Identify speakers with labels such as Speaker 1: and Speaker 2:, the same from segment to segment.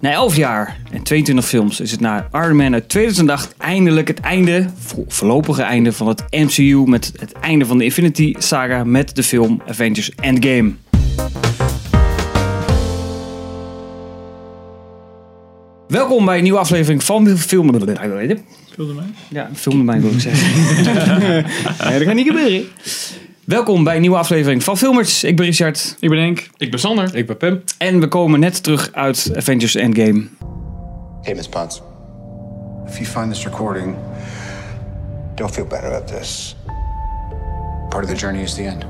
Speaker 1: Na 11 jaar en 22 films is het na Iron Man uit 2008 eindelijk het einde, vo- voorlopige einde van het MCU met het einde van de Infinity Saga met de film Avengers Endgame. Welkom bij een nieuwe aflevering van Film...
Speaker 2: Vulde mij?
Speaker 1: Ja, film mij wil ik zeggen. nee, dat kan niet gebeuren. Welkom bij een nieuwe aflevering van Filmers. Ik ben Richard.
Speaker 2: Ik ben Henk.
Speaker 3: Ik ben Sander.
Speaker 4: Ik ben Pim.
Speaker 1: En we komen net terug uit Avengers Endgame.
Speaker 5: Hey, Miss Potts,
Speaker 6: If you find this recording,
Speaker 5: don't feel bad about this.
Speaker 6: part of the journey is the end.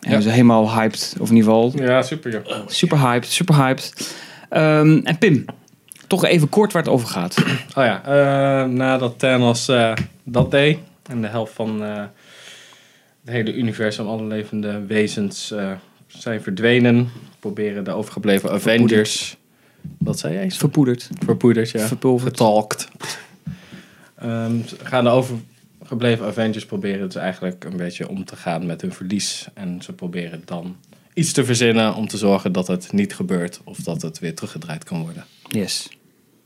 Speaker 1: En we zijn helemaal hyped, of in ieder geval
Speaker 4: Ja, super joh.
Speaker 1: super hyped, super hyped. Ehm, en Pim, toch even kort waar het over gaat.
Speaker 4: Oh ja, eh, nadat Thanos eh, dat deed en de helft van eh, het hele universum, alle levende wezens eh, zijn verdwenen, proberen de overgebleven Avengers. Wat zei jij?
Speaker 1: Verpoederd.
Speaker 4: Verpoeders, ja.
Speaker 1: Verpulverd.
Speaker 4: Getalkt. Ehm, ze gaan de overgebleven Avengers proberen dus eigenlijk een beetje om te gaan met hun verlies. En ze proberen dan iets te verzinnen om te zorgen dat het niet gebeurt of dat het weer teruggedraaid kan worden.
Speaker 1: Yes.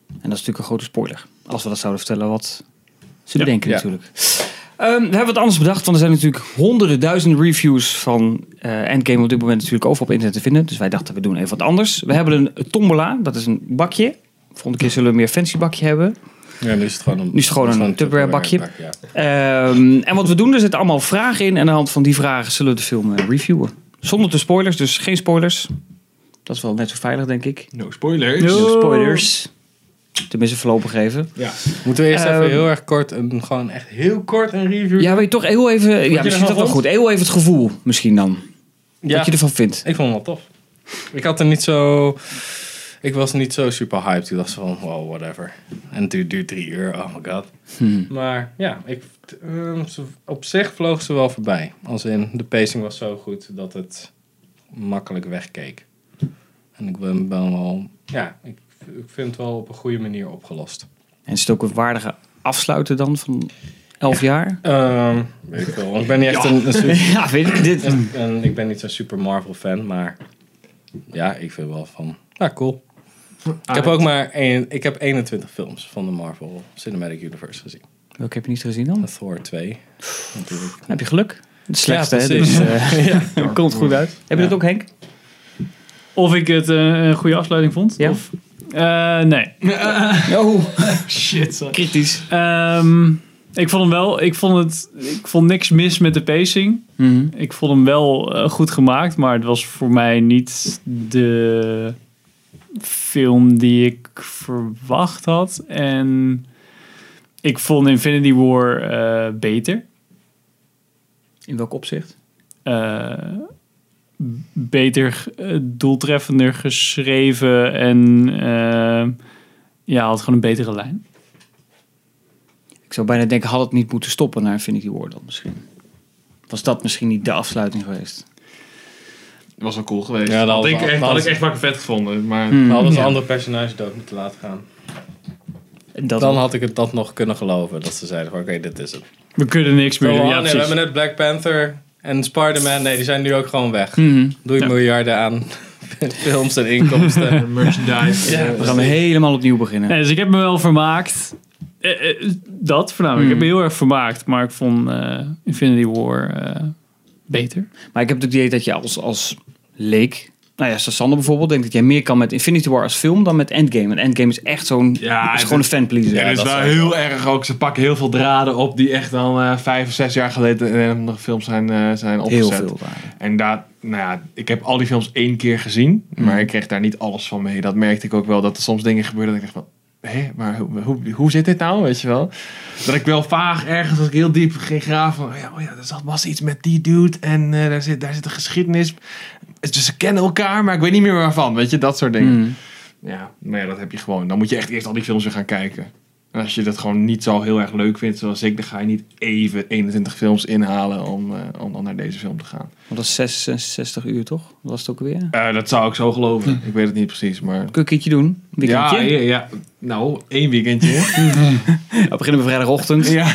Speaker 1: En dat is natuurlijk een grote spoiler. Als we dat zouden vertellen, wat ze bedenken
Speaker 4: ja.
Speaker 1: natuurlijk. Ehm, we hebben wat anders bedacht, want er zijn natuurlijk honderden duizenden reviews van eh, Endgame op dit moment natuurlijk overal op internet te vinden. Dus wij dachten, we doen even wat anders. We hebben een tombola, dat is een bakje. Volgende keer zullen we een meer fancy bakje hebben.
Speaker 4: Ja, nu is het gewoon een,
Speaker 1: Nu is het gewoon een Tupperware bakje.
Speaker 4: Tupperware bak,
Speaker 1: Ehm, en wat we doen, er zitten allemaal vragen in. En aan de hand van die vragen zullen we de film eh, reviewen. Zonder de spoilers, dus geen spoilers. Dat is wel net zo veilig, denk ik.
Speaker 3: No spoilers.
Speaker 1: No spoilers. Tenminste, voorlopig even.
Speaker 4: ja. Moeten we eerst
Speaker 1: Ehm,
Speaker 4: even heel erg kort, een, gewoon echt heel kort een review
Speaker 1: Ja, weet je toch heel even... Ja,
Speaker 4: nog
Speaker 1: misschien toch wel
Speaker 4: rond?
Speaker 1: goed. Heel even het gevoel, misschien dan.
Speaker 4: Ja,
Speaker 1: Wat je ervan vindt.
Speaker 4: ik vond hem wel tof. Ik had er niet zo... Ik was niet zo super hyped. Ik dacht zo van, wow, whatever. En het duurt, duurt drie uur, oh my god.
Speaker 1: Hmm.
Speaker 4: Maar ja, ik, ehm, ze- op zich vloog ze wel voorbij. Als in, de pacing was zo goed dat het makkelijk wegkeek. En ik ben, ben wel... Ja, ik, ik vind het wel op een goede manier opgelost.
Speaker 1: En is het ook een waardige afsluiten dan van elf jaar?
Speaker 4: Ehm, weet ik, veel, want ik ben niet echt een, een super-
Speaker 1: Ja, weet ik. Dit.
Speaker 4: En, en ik ben niet zo'n super Marvel fan, maar ja, ik vind wel van, ja, cool. Ik heb ook maar één, ik heb 21 films van de Marvel Cinematic Universe gezien.
Speaker 1: Welke heb je niet gezien dan?
Speaker 4: Thor 2, natuurlijk.
Speaker 1: Heb je geluk? Het slechtste, hè?
Speaker 4: precies.
Speaker 1: Dus, eh,
Speaker 2: Komt goed uit.
Speaker 1: Heb je dat ook, Henk?
Speaker 2: Of ik het eh, een goede afsluiting vond?
Speaker 1: Ja.
Speaker 2: Of, Eh, nee.
Speaker 1: Oh,
Speaker 2: Shit.
Speaker 1: kritisch.
Speaker 2: Ehm, ik vond hem wel. Ik vond, het, ik vond niks mis met de pacing.
Speaker 1: Mhm.
Speaker 2: Ik vond hem wel eh, goed gemaakt, maar het was voor mij niet de film die ik verwacht had. En ik vond Infinity War eh, beter.
Speaker 1: In welk opzicht?
Speaker 2: eh, b- beter, eh, doeltreffender geschreven en eh, ja, had gewoon een betere lijn.
Speaker 1: Ik zou bijna denken, had het niet moeten stoppen naar Infinity War dan misschien? Was dat misschien niet de afsluiting geweest?
Speaker 3: Dat was wel cool geweest.
Speaker 4: Ja, dat
Speaker 3: had,
Speaker 4: was-
Speaker 3: ik echt,
Speaker 4: dat
Speaker 3: had
Speaker 4: was-
Speaker 3: ik echt vaak vet gevonden. Maar
Speaker 1: Hmm.
Speaker 4: We hadden ze
Speaker 1: Ja.
Speaker 4: andere personage dood moeten laten gaan.
Speaker 1: Dat
Speaker 4: Dan had ik het dat nog kunnen geloven, dat ze zeiden van, oké, dit is het.
Speaker 2: We kunnen niks meer
Speaker 4: Zo,
Speaker 2: doen.
Speaker 4: oh,
Speaker 2: Ja,
Speaker 4: nee, we hebben
Speaker 2: precies.
Speaker 4: net Black Panther en Spider-Man, nee, die zijn nu ook gewoon weg.
Speaker 1: Mhm.
Speaker 4: Doe je
Speaker 2: Ja.
Speaker 4: miljarden aan films en inkomsten. Eh,
Speaker 3: merchandise.
Speaker 4: Ja,
Speaker 1: We gaan helemaal opnieuw beginnen.
Speaker 2: Nee, dus ik heb me wel vermaakt. Eh, eh, dat voornamelijk. Ik heb
Speaker 1: Hmm.
Speaker 2: me heel erg vermaakt, maar ik vond eh, Infinity War eh, beter.
Speaker 1: Maar ik heb het idee dat je als, als leek... Nou ja, Sander bijvoorbeeld denkt dat jij meer kan met Infinity War als film dan met Endgame. En Endgame is echt zo'n...
Speaker 3: Ja,
Speaker 1: is
Speaker 3: het-
Speaker 1: gewoon een fanpleaser.
Speaker 3: En
Speaker 4: Ja,
Speaker 3: het is
Speaker 4: dat
Speaker 3: wel
Speaker 4: zou ik
Speaker 3: heel erg ook. Ze pakken heel veel draden op die echt dan eh, vijf of zes jaar geleden in een andere films zijn, eh, zijn
Speaker 1: Heel
Speaker 3: opgezet.
Speaker 1: veel waarde.
Speaker 3: En daar, nou ja, ik heb al die films één keer gezien, maar ik kreeg daar niet alles van mee. Dat merkte ik ook wel, dat er soms dingen gebeurden dat ik dacht van, hé, maar hoe, hoe, hoe zit dit nou, weet je wel? Dat ik wel vaag ergens, als ik heel diep ging graven, van, ja, oh ja, er zat- was iets met die dude en eh, daar, zit, daar zit een geschiedenis. Dus ze kennen elkaar, maar ik weet niet meer waarvan, weet je, dat soort dingen.
Speaker 1: Mm.
Speaker 3: Ja, maar ja, dat heb je gewoon. Dan moet je echt eerst al die films weer gaan kijken. En als je dat gewoon niet zo heel erg leuk vindt, zoals ik, dan ga je niet even 21 films inhalen om, eh, om dan naar deze film te gaan.
Speaker 1: Want dat is 66 uur toch? Dat was het ook weer?
Speaker 3: Eh, dat zou ik zo geloven. ik weet het niet precies, maar...
Speaker 1: Kun je een keertje doen? Weekendje?
Speaker 3: Ja, ja, ja, nou, één weekendje.
Speaker 1: Nou, We beginnen we vrijdagochtend.
Speaker 3: ja,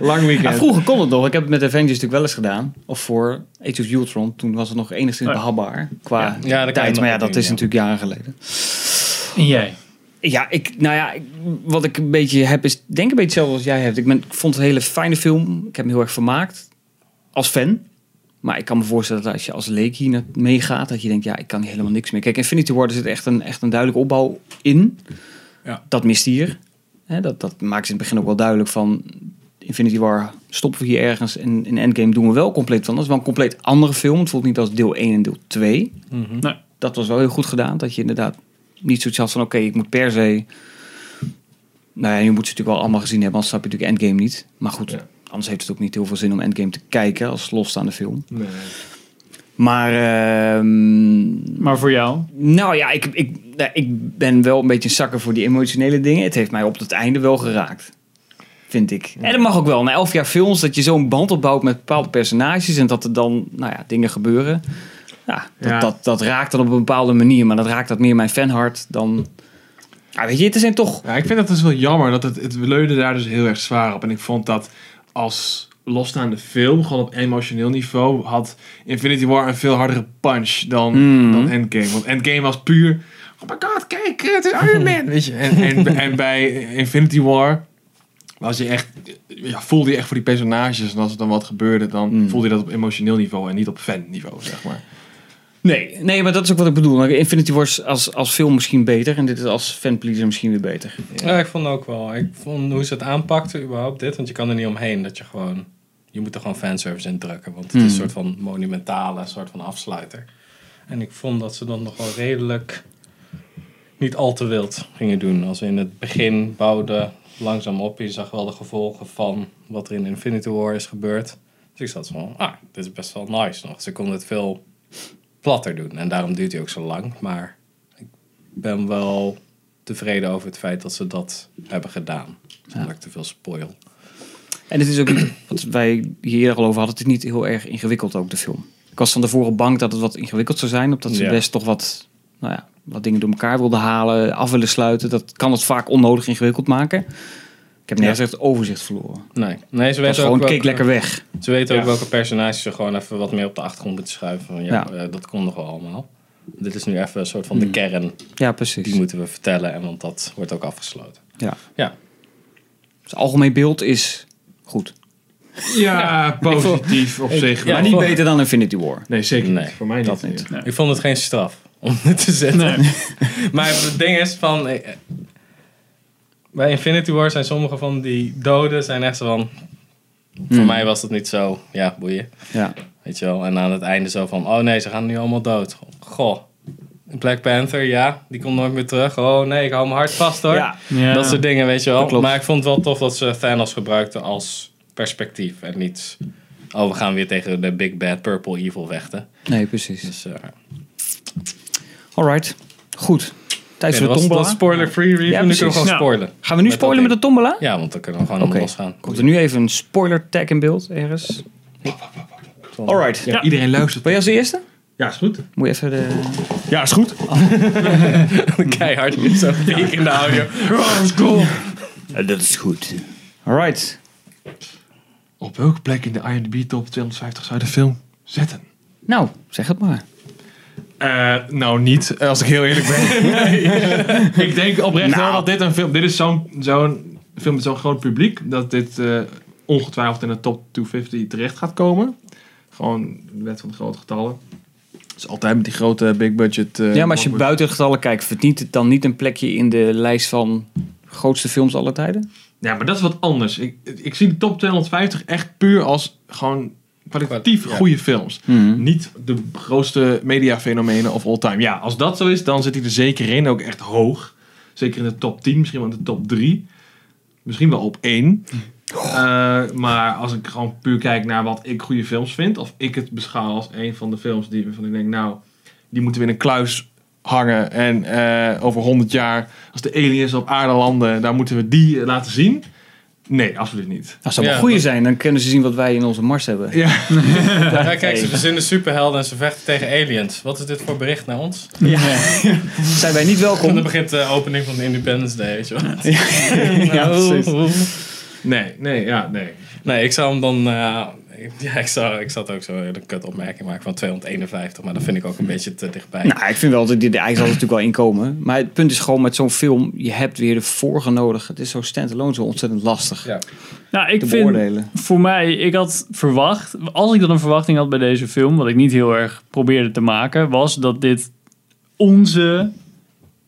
Speaker 3: lang
Speaker 1: Ja,
Speaker 3: weekend.
Speaker 1: vroeger kon het nog. Ik heb het met Avengers natuurlijk wel eens gedaan. Of voor Age of Ultron. Toen was het nog enigszins
Speaker 2: Ja.
Speaker 1: behapbaar qua
Speaker 4: Oh. Ja, dat kan je
Speaker 1: tijd.
Speaker 4: nog
Speaker 1: Maar ja,
Speaker 4: opnieuw,
Speaker 1: dat is
Speaker 4: ja.
Speaker 1: natuurlijk jaren geleden.
Speaker 2: En jij?
Speaker 1: Ja, ik, nou ja, ik- wat ik een beetje heb is, denk een beetje hetzelfde als jij hebt. Ik, ben, ik vond het een hele fijne film. Ik heb me heel erg vermaakt. Als fan. Maar ik kan me voorstellen dat als je als leek hier naar- meegaat, dat je denkt, ja, ik kan helemaal niks meer. Kijk, Infinity War, er zit echt een, echt een duidelijke opbouw in.
Speaker 3: Ja.
Speaker 1: Dat mist hier. Hè, dat, dat maakt ze in het begin ook wel duidelijk van, Infinity War stoppen we hier ergens en in Endgame doen we wel compleet van. Dat is wel een compleet andere film. Het voelt niet als deel 1 en deel 2
Speaker 3: Mhm.
Speaker 1: dat was wel heel goed gedaan. Dat je inderdaad niet zoiets had van... oké, ik moet per se... Nou ja, je moet ze natuurlijk wel allemaal gezien hebben... anders snap je natuurlijk Endgame niet. Maar goed,
Speaker 3: Ja.
Speaker 1: anders heeft het ook niet heel veel zin om Endgame te kijken... als losstaande film.
Speaker 3: Nee.
Speaker 1: Maar ehm,
Speaker 2: Maar voor jou?
Speaker 1: nou ja, ik, ik, nou, ik ben wel een beetje een zakker voor die emotionele dingen. Het heeft mij op het einde wel geraakt. Vind ik. En dat mag ook wel. Na elf jaar films dat je zo'n band opbouwt met bepaalde personages. En dat er dan nou ja, dingen gebeuren. Ja, dat,
Speaker 3: Ja.
Speaker 1: Dat, dat raakt dan op een bepaalde manier. Maar dat raakt dat meer mijn fanhart dan... Ah, weet je, het zijn toch...
Speaker 3: Ja, ik vind dat dus wel jammer. Dat het, het leunde daar dus heel erg zwaar op. En ik vond dat als losstaande film, gewoon op emotioneel niveau, had Infinity War een veel hardere punch dan, dan Endgame. Want Endgame was puur, oh my god, kijk, het is Iron Man. Weet je? En, en, en bij Infinity War was je echt, ja, voelde je echt voor die personages. En als er dan wat gebeurde, dan voelde je dat op emotioneel niveau en niet op fan-niveau, zeg maar.
Speaker 1: Nee, nee, maar dat is ook wat ik bedoel. Infinity War is als, als film misschien beter. En dit is als fanpleaser misschien weer beter.
Speaker 4: Ja, ik vond ook wel. Ik vond hoe ze het aanpakten überhaupt dit. Want je kan er niet omheen dat je gewoon... Je moet er gewoon fanservice in drukken. Want het is een soort van monumentale, soort van afsluiter. En ik vond dat ze dat nog wel redelijk... Niet al te wild gingen doen. Als we in het begin bouwden langzaam op. Je zag wel de gevolgen van wat er in Infinity War is gebeurd. Dus ik zat van, ah, dit is best wel nice nog. Ze konden het veel platter doen. En daarom duurt hij ook zo lang. Maar ik ben wel tevreden over het feit dat ze dat hebben gedaan. Zonder ik te veel spoil.
Speaker 1: En het is ook niet, wat wij hier eerder al over hadden, het is niet heel erg ingewikkeld ook de film. Ik was van tevoren bang dat het wat ingewikkeld zou zijn, omdat ze
Speaker 4: Ja.
Speaker 1: best toch wat, nou ja, wat dingen door elkaar wilden halen, af willen sluiten. Dat kan het vaak onnodig ingewikkeld maken. Ik heb nergens echt het overzicht verloren.
Speaker 4: Nee, nee ze
Speaker 1: Het was
Speaker 4: weten ook,
Speaker 1: gewoon,
Speaker 4: welke,
Speaker 1: keek lekker weg.
Speaker 4: Ze weten ook
Speaker 3: Ja.
Speaker 4: welke personages ze gewoon even wat meer op de achtergrond moeten schuiven. Van, ja,
Speaker 1: Ja.
Speaker 4: eh, dat kon nog wel allemaal. Dit is nu even een soort van
Speaker 3: Hmm.
Speaker 4: de kern.
Speaker 1: Ja,
Speaker 4: Die
Speaker 1: precies.
Speaker 4: moeten we vertellen, en want dat wordt ook afgesloten.
Speaker 1: Ja.
Speaker 4: Ja.
Speaker 1: Dus het algemeen beeld is goed.
Speaker 3: Ja, positief op zich.
Speaker 4: ja,
Speaker 3: wel.
Speaker 1: maar niet
Speaker 4: voor-
Speaker 1: beter dan Infinity War.
Speaker 3: Nee, zeker
Speaker 4: Nee,
Speaker 3: niet. Voor mij niet.
Speaker 1: dat niet.
Speaker 4: Ik vond het geen straf om dit te zetten. maar het ding is van... eh, Bij Infinity War zijn sommige van die doden zijn echt zo van...
Speaker 3: Hmm.
Speaker 4: Voor mij was dat niet zo, ja, boeien.
Speaker 1: Ja.
Speaker 4: Weet je wel? En aan het einde zo van, oh nee, ze gaan nu allemaal dood. Goh. Black Panther, ja, die komt nooit meer terug. Oh nee, ik hou mijn hart vast hoor.
Speaker 1: Ja.
Speaker 2: Ja.
Speaker 4: Dat soort dingen, weet je wel.
Speaker 1: klopt.
Speaker 4: Maar ik vond het wel tof dat ze Thanos gebruikten als perspectief. En niet, oh we gaan weer tegen de big bad purple evil vechten.
Speaker 1: Nee, precies.
Speaker 4: Dus eh
Speaker 1: Alright. Goed. Tijd
Speaker 4: ja,
Speaker 1: voor de
Speaker 4: dat was- dat
Speaker 1: tombola.
Speaker 4: was spoiler-free review.
Speaker 1: Ja,
Speaker 4: nu
Speaker 1: precies.
Speaker 4: kunnen we gewoon
Speaker 2: Nou.
Speaker 4: spoilen.
Speaker 1: Gaan we nu
Speaker 4: Met dat
Speaker 1: spoilen met de tombola?
Speaker 4: Ja, want dan kunnen we gewoon
Speaker 1: Oké.
Speaker 4: allemaal losgaan.
Speaker 1: Komt er nu even een spoiler tag in beeld ergens? Alright.
Speaker 3: Ja, Iedereen luistert.
Speaker 1: Ben je als eerste?
Speaker 3: Ja, is goed.
Speaker 1: Moet je even de...
Speaker 3: Ja, is goed.
Speaker 4: Keihard nu zo fake in de audio. Let's go.
Speaker 1: dat is goed. Alright.
Speaker 3: Op welke plek in de IMDb top 250 zou je de film zetten?
Speaker 1: Nou, zeg het maar.
Speaker 3: nou, niet, als ik heel eerlijk ben. Nou. ik denk oprecht wel dat dit een film... Dit is zo'n zo'n film met zo'n groot publiek... dat dit eh, ongetwijfeld in de top 250 terecht gaat komen. Gewoon de wet van de grote getallen. Het is altijd met die grote big budget...
Speaker 1: ja, maar als
Speaker 3: eh,
Speaker 1: je
Speaker 3: blockbusters.
Speaker 1: buiten de getallen kijkt, verdient het dan niet een plekje in de lijst van grootste films aller tijden?
Speaker 3: Ja, maar dat is wat anders. Ik, ik zie de top 250 echt puur als gewoon kwalitatief
Speaker 4: Ja.
Speaker 3: goede films.
Speaker 1: Mhm.
Speaker 3: Niet de grootste mediafenomenen of all time. Ja, als dat zo is, dan zit hij er zeker in. Ook echt hoog. Zeker in de top 10, misschien wel in de top 3. Misschien wel op 1. maar als ik gewoon puur kijk naar wat ik goede films vind. Of ik het beschouw als een van de films die waarvan ik denk... Nou, die moeten we in een kluis hangen. En eh, over 100 jaar, als de aliens op aarde landen... Daar moeten we die eh, laten zien. Nee, absoluut niet.
Speaker 1: Als ze wel
Speaker 4: Ja,
Speaker 1: goede
Speaker 4: dat-
Speaker 1: zijn, dan kunnen ze zien wat wij in onze mars hebben.
Speaker 3: Ja.
Speaker 4: Ja, kijk, ze verzinnen superhelden en ze vechten tegen aliens. Wat is dit voor bericht naar ons?
Speaker 1: Zijn wij niet
Speaker 4: En dan
Speaker 1: welkom?
Speaker 4: begint de opening van Independence Day, weet je wel.
Speaker 1: ja, precies.
Speaker 2: Oh.
Speaker 3: Nee, nee, ja, nee.
Speaker 4: Nee, ik zou hem dan... eh, ja, ik, zou, ik zat ook zo een kut opmerking maken van 251, maar dat vind ik ook een beetje te dichtbij.
Speaker 1: Nou, ik vind wel dat die de zal er natuurlijk wel inkomen. Maar het punt is gewoon met zo'n film, je hebt weer de vorige nodig. Het is zo standalone zo ontzettend lastig
Speaker 4: Ja.
Speaker 2: Nou, ik
Speaker 1: te
Speaker 2: vind
Speaker 1: beoordelen.
Speaker 2: voor mij, ik had verwacht, als ik dan een verwachting had bij deze film, wat ik niet heel erg probeerde te maken, was dat dit onze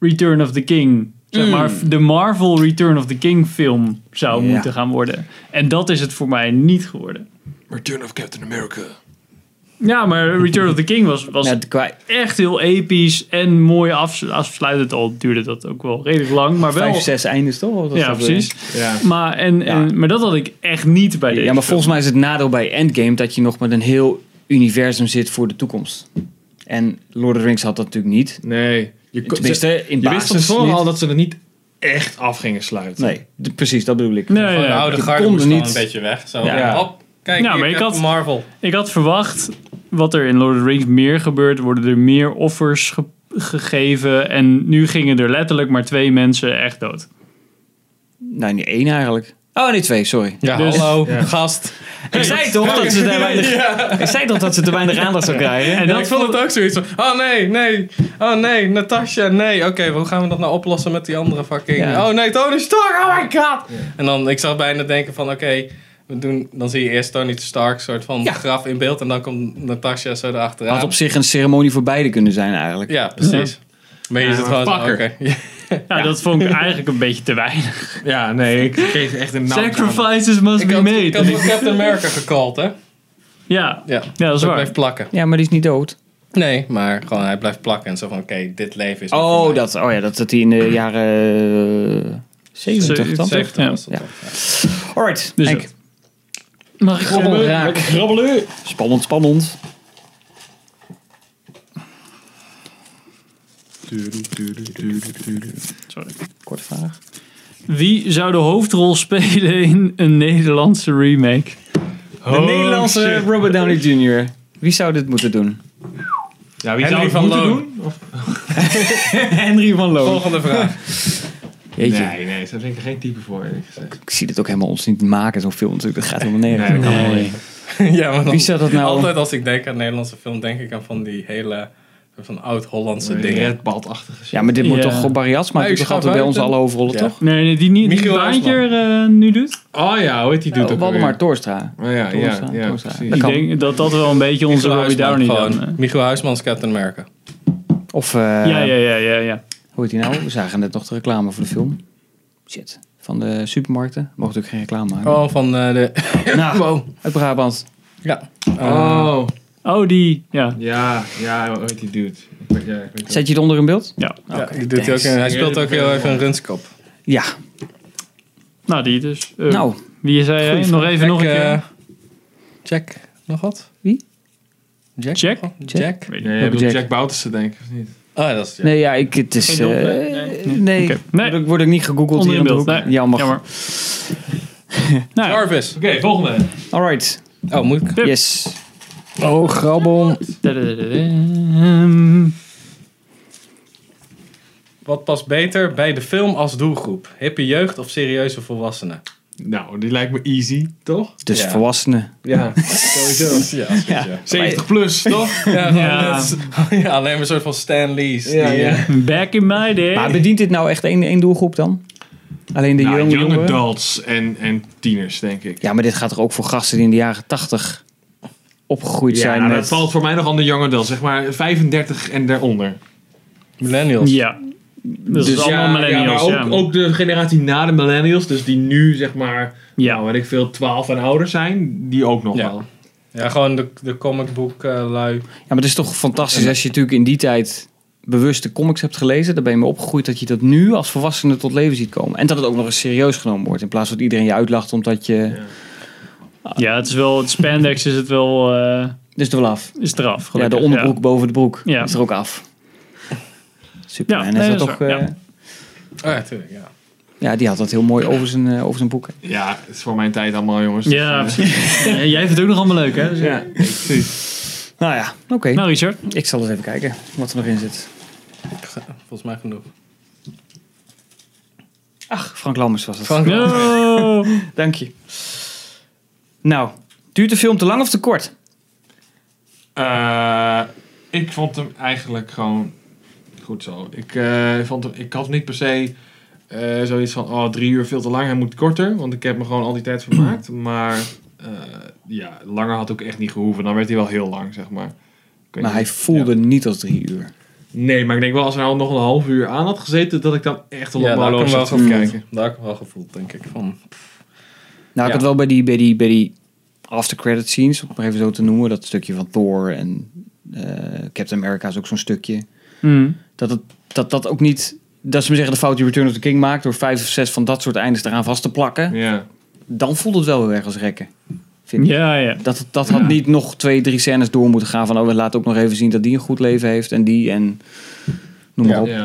Speaker 2: Return of the King, zeg maar,
Speaker 3: Mm.
Speaker 2: de Marvel Return of the King film zou
Speaker 1: Ja.
Speaker 2: moeten gaan worden. En dat is het voor mij niet geworden.
Speaker 3: Return of Captain America.
Speaker 2: Ja, maar Return of the King was, was
Speaker 1: Ja, qua-
Speaker 2: echt heel episch en mooi afs- afsluitend. Al duurde dat ook wel redelijk lang, maar wel...
Speaker 1: vijf, zes eindes toch? Of dat eh,
Speaker 2: ja,
Speaker 1: is dat,
Speaker 2: precies.
Speaker 3: Ja.
Speaker 2: Maar, en, en, maar dat had ik echt niet bij
Speaker 1: eh,
Speaker 2: deze
Speaker 1: Ja, maar
Speaker 2: film.
Speaker 1: volgens mij is het nadeel bij Endgame dat je nog met een heel universum zit voor de toekomst. En Lord of the Rings had dat natuurlijk niet.
Speaker 3: Nee. Je, kon-
Speaker 1: Tenminste,
Speaker 3: ze-
Speaker 1: in
Speaker 3: je wist van
Speaker 1: basis
Speaker 3: tevoren
Speaker 1: niet.
Speaker 3: al dat ze er niet echt af gingen sluiten.
Speaker 1: Nee, d- precies, dat bedoel ik.
Speaker 2: Nee,
Speaker 4: Gewoon
Speaker 2: ja,
Speaker 4: Oh, de oude
Speaker 1: je
Speaker 4: garde
Speaker 1: kon
Speaker 4: moest
Speaker 1: er
Speaker 4: niet.
Speaker 1: eh, niet-
Speaker 4: een beetje weg. Zo,
Speaker 1: Ja.
Speaker 4: ja. Hop, kijk,
Speaker 2: Ja,
Speaker 4: hier,
Speaker 2: maar ik
Speaker 4: Captain
Speaker 2: had-
Speaker 4: Marvel.
Speaker 2: Ik had verwacht wat er in Lord of the Rings meer gebeurt. Worden er meer offers ge- gegeven. En nu gingen er letterlijk maar twee mensen echt dood.
Speaker 1: Nee, niet één eigenlijk. Oh, nee, twee, sorry.
Speaker 4: Ja,
Speaker 2: Dus-
Speaker 4: hallo, gast.
Speaker 1: Ik zei toch dat ze te weinig, ik zei toch dat ze te weinig aandacht zou krijgen.
Speaker 2: En
Speaker 4: Ja,
Speaker 2: dat
Speaker 4: ik vond het ook zoiets van, oh nee, nee, oh nee, Natasha, nee, oké, hoe gaan we dat nou oplossen met die andere fucking,
Speaker 1: Ja.
Speaker 4: oh nee, Tony Stark, oh my god. En dan, ik zag bijna denken van, oké, we doen, dan zie je eerst Tony Stark soort van graf in beeld en dan komt Natasha zo erachteraan.
Speaker 1: Had op zich een ceremonie voor beide kunnen zijn eigenlijk.
Speaker 4: Ja, precies. Maar je zit gewoon zo, oké.
Speaker 3: fucker.
Speaker 4: Ja.
Speaker 2: Ja, dat vond ik eigenlijk een beetje te weinig.
Speaker 3: Ja, nee, ik geef echt een naam. aan.
Speaker 2: Sacrifices must
Speaker 4: Nou, Ik
Speaker 2: be
Speaker 4: had, ik had
Speaker 2: made.
Speaker 4: ook Captain America gecallt, hè?
Speaker 2: Ja.
Speaker 4: Ja,
Speaker 2: Ja, dat is waar.
Speaker 4: blijft plakken.
Speaker 1: Ja, maar die is niet dood.
Speaker 4: Nee, maar gewoon, hij blijft plakken en zo van, oké, dit leven is... niet voor
Speaker 1: Oh,
Speaker 4: mij.
Speaker 1: dat, oh ja, dat, dat die in de jaren eh, 70 dan.
Speaker 2: Zeventig.
Speaker 4: Zeventig was dat
Speaker 1: Ja.
Speaker 4: toch, ja.
Speaker 1: Alright,
Speaker 2: Dus
Speaker 1: Henk.
Speaker 2: dat. Mag ik
Speaker 1: Grabbel,
Speaker 2: grabbelen?
Speaker 1: raak. Spannend, spannend.
Speaker 2: Sorry.
Speaker 1: Korte vraag.
Speaker 2: Wie zou de hoofdrol spelen in een Nederlandse remake?
Speaker 1: De
Speaker 3: Oh,
Speaker 1: Nederlandse Robert Downey Jr. Wie zou dit moeten doen?
Speaker 3: Ja, wie
Speaker 4: Henry
Speaker 3: zou het
Speaker 4: van
Speaker 3: moeten
Speaker 4: Loon.
Speaker 3: doen?
Speaker 1: Henry van Loon.
Speaker 4: Volgende vraag.
Speaker 1: Oh, Jeetje,
Speaker 3: Nee, nee, daar vind ik geen type voor. eerlijk gezegd.
Speaker 1: ik zie dit ook helemaal ons niet maken, zo'n film natuurlijk. Dat gaat helemaal nergens.
Speaker 3: Nee, dat kan
Speaker 1: Nee.
Speaker 4: ja, maar dan,
Speaker 1: Wie zou dat nou-
Speaker 4: Altijd als ik denk aan Nederlandse film, denk ik aan van die hele van oud-Hollandse
Speaker 3: Een
Speaker 4: dingen.
Speaker 3: redbaldachtige
Speaker 1: Ja, maar dit moet
Speaker 2: Ja.
Speaker 1: toch Barry Asma
Speaker 4: Nee,
Speaker 1: doet
Speaker 4: ik
Speaker 1: toch
Speaker 4: schat
Speaker 1: altijd bij
Speaker 4: uit
Speaker 1: ons
Speaker 4: en-
Speaker 1: alle hoofdrollen,
Speaker 4: Ja.
Speaker 1: toch?
Speaker 2: Nee, nee, die niet die
Speaker 4: Michiel
Speaker 2: Baantje eh, nu doet.
Speaker 3: Oh ja, hoe heet die doet ook
Speaker 1: Waldemar
Speaker 3: alweer?
Speaker 1: Torstra.
Speaker 3: Oh ja, ja,
Speaker 1: Torstra,
Speaker 3: ja,
Speaker 1: Torstra.
Speaker 3: precies.
Speaker 1: Dat
Speaker 2: Ik
Speaker 1: kan.
Speaker 2: denk dat dat wel een beetje onze Robbie Downey dan.
Speaker 4: gewoon.
Speaker 2: eh.
Speaker 4: Michiel Huisman's Captain America.
Speaker 1: Of, eh,
Speaker 2: Ja, ja, ja, ja, ja.
Speaker 1: hoe heet die nou? We zagen net nog de reclame voor de film. Shit. Van de supermarkten. Mocht ook geen reclame maken.
Speaker 4: Oh, van eh, de...
Speaker 1: Nou,
Speaker 4: wow.
Speaker 1: uit Brabant.
Speaker 4: Ja.
Speaker 3: Oh,
Speaker 2: Oh, die. Ja.
Speaker 3: ja, ja, hoe heet die dude? Ik weet- Ja, ik weet
Speaker 1: Zet je het onder in beeld?
Speaker 2: ja.
Speaker 4: Ja, die doet hij, ook,
Speaker 1: thanks.
Speaker 4: in- hij speelt ook heel even een runskop.
Speaker 1: Ja.
Speaker 2: Nou, die dus. Eh,
Speaker 1: Nou,
Speaker 2: Wie zei jij?
Speaker 1: Goeie
Speaker 2: Nog
Speaker 1: vraag.
Speaker 2: even,
Speaker 4: Jack,
Speaker 2: nog een keer.
Speaker 4: eh, Jack, nog wat?
Speaker 1: Wie?
Speaker 4: Jack? Oh,
Speaker 2: Jack?
Speaker 4: Jack?
Speaker 1: Jack?
Speaker 2: Weet
Speaker 3: niet.
Speaker 2: niet.
Speaker 3: Nee, je bedoelt
Speaker 1: Jack.
Speaker 3: Jack Boutersen denk ik, of niet?
Speaker 4: Oh, ja, dat is Jack.
Speaker 1: nee, ja, ik, het is...
Speaker 2: Geen
Speaker 1: eh,
Speaker 2: hulp,
Speaker 1: nee,
Speaker 2: nee, nee. Oké. Nee.
Speaker 1: Word, ik, word ik niet gegoogeld
Speaker 2: Onder
Speaker 1: hier
Speaker 2: in
Speaker 1: in de
Speaker 2: beeld.
Speaker 1: hoek.
Speaker 2: Nee,
Speaker 1: Jammer.
Speaker 2: jammer. nou, ja.
Speaker 4: Jarvis.
Speaker 3: Oké, volgende.
Speaker 1: Alright.
Speaker 4: Oh, moet ik...
Speaker 2: Hup.
Speaker 1: Yes.
Speaker 4: Oh, grabbel.
Speaker 2: Dadadadadam.
Speaker 4: Wat past beter bij de film als doelgroep? Hippe jeugd of serieuze volwassenen?
Speaker 3: Nou, die lijkt me easy, toch?
Speaker 1: Dus
Speaker 4: Ja.
Speaker 1: volwassenen.
Speaker 3: Ja, sowieso.
Speaker 4: Ja, dat is goed, ja.
Speaker 3: 70 plus, toch?
Speaker 4: Ja, gewoon
Speaker 2: Ja.
Speaker 4: net als- ja, alleen maar een soort van Stan Lee's.
Speaker 3: Ja,
Speaker 4: die,
Speaker 3: ja.
Speaker 4: eh,
Speaker 2: Back in my day.
Speaker 1: Maar bedient dit nou echt één, één doelgroep dan? Alleen de
Speaker 3: Nou,
Speaker 1: jonge
Speaker 3: young
Speaker 1: jongeren?
Speaker 3: adults en, en tieners, denk ik.
Speaker 1: Ja, maar dit gaat toch ook voor gasten die in de jaren tachtig opgegroeid zijn
Speaker 3: nou, dat
Speaker 1: met...
Speaker 3: valt voor mij nog aan de young adults. Zeg maar 35 en daaronder.
Speaker 4: Millennials.
Speaker 2: Ja. Dus,
Speaker 3: Dus
Speaker 2: allemaal
Speaker 3: ja,
Speaker 2: millennials.
Speaker 3: Ja,
Speaker 2: Ja,
Speaker 3: maar ook, ook de generatie na de millennials, dus die nu zeg maar,
Speaker 2: Ja.
Speaker 3: nou weet ik veel, 12 en ouder zijn, die ook nog
Speaker 4: Ja.
Speaker 3: wel.
Speaker 4: Ja, gewoon de, de comicboek eh, lui.
Speaker 1: Ja, maar het is toch fantastisch als je natuurlijk in die tijd bewust de comics hebt gelezen. Daar ben je mee opgegroeid dat je dat nu als volwassene tot leven ziet komen. En dat het ook nog eens serieus genomen wordt. In plaats van dat iedereen je uitlacht omdat je...
Speaker 2: ja, het is wel, het spandex is het wel, eh
Speaker 1: Dus er wel af.
Speaker 2: is eraf.
Speaker 1: Ja, de
Speaker 2: gelukkig.
Speaker 1: onderbroek boven de broek
Speaker 2: Ja.
Speaker 1: is er ook af. Super.
Speaker 2: Ja,
Speaker 1: en
Speaker 2: nee,
Speaker 1: is dat
Speaker 2: dat is
Speaker 1: toch,
Speaker 2: waar,
Speaker 1: eh,
Speaker 2: ja.
Speaker 4: Oh ja, tuurlijk, ja.
Speaker 1: ja. die had dat heel mooi over zijn, eh, over zijn boek.
Speaker 3: Ja, het is voor mijn tijd allemaal, jongens. Dus, eh,
Speaker 2: Ja, ja precies. Ja, jij vindt het ook nog allemaal leuk, hè? Dus-
Speaker 1: Ja. Nou ja, oké.
Speaker 2: Nou, Richard.
Speaker 1: Ik zal eens even kijken wat er nog in zit.
Speaker 4: Volgens mij genoeg.
Speaker 1: Ach, Frank Lammers was het.
Speaker 4: Frank-
Speaker 2: No.
Speaker 1: Dank je. Nou, Duurt de film te lang of te kort?
Speaker 3: Eh, ik vond hem eigenlijk gewoon goed zo. Ik, eh, vond hem, ik had niet per se eh, zoiets van, oh, drie uur veel te lang, hij moet korter. Want ik heb me gewoon al die tijd vermaakt. Maar eh, ja, langer had ook echt niet gehoeven. Dan werd hij wel heel lang, zeg maar. Ik weet
Speaker 1: Maar
Speaker 3: niet.
Speaker 1: hij voelde niet als drie uur.
Speaker 3: Nee, maar ik denk wel als hij al nog een half uur aan had gezeten, dat ik dan echt wel
Speaker 4: Ja,
Speaker 3: op
Speaker 4: daar
Speaker 3: mijn
Speaker 4: heb ik
Speaker 3: horloge
Speaker 4: hem wel
Speaker 3: zat te
Speaker 4: gevoeld.
Speaker 3: kijken.
Speaker 4: Daar heb ik hem wel gevoeld, denk ik. Van,
Speaker 1: Nou, ik
Speaker 3: Ja.
Speaker 1: had wel bij die, bij die, bij die after-credit scenes, om het maar even zo te noemen, dat stukje van Thor en eh, Captain America is ook zo'n stukje.
Speaker 2: Hmm.
Speaker 1: Dat, het, dat dat ook niet, dat ze me zeggen de fout die Return of the King maakt, door vijf of zes van dat soort eindes eraan vast te plakken,
Speaker 3: Ja.
Speaker 1: dan voelt het wel heel erg als rekken. Vind ik.
Speaker 2: Ja, ja.
Speaker 1: Dat, dat had niet nog twee, drie scènes door moeten gaan van, oh, we laten ook nog even zien dat die een goed leven heeft en die en noem maar op.
Speaker 3: ja.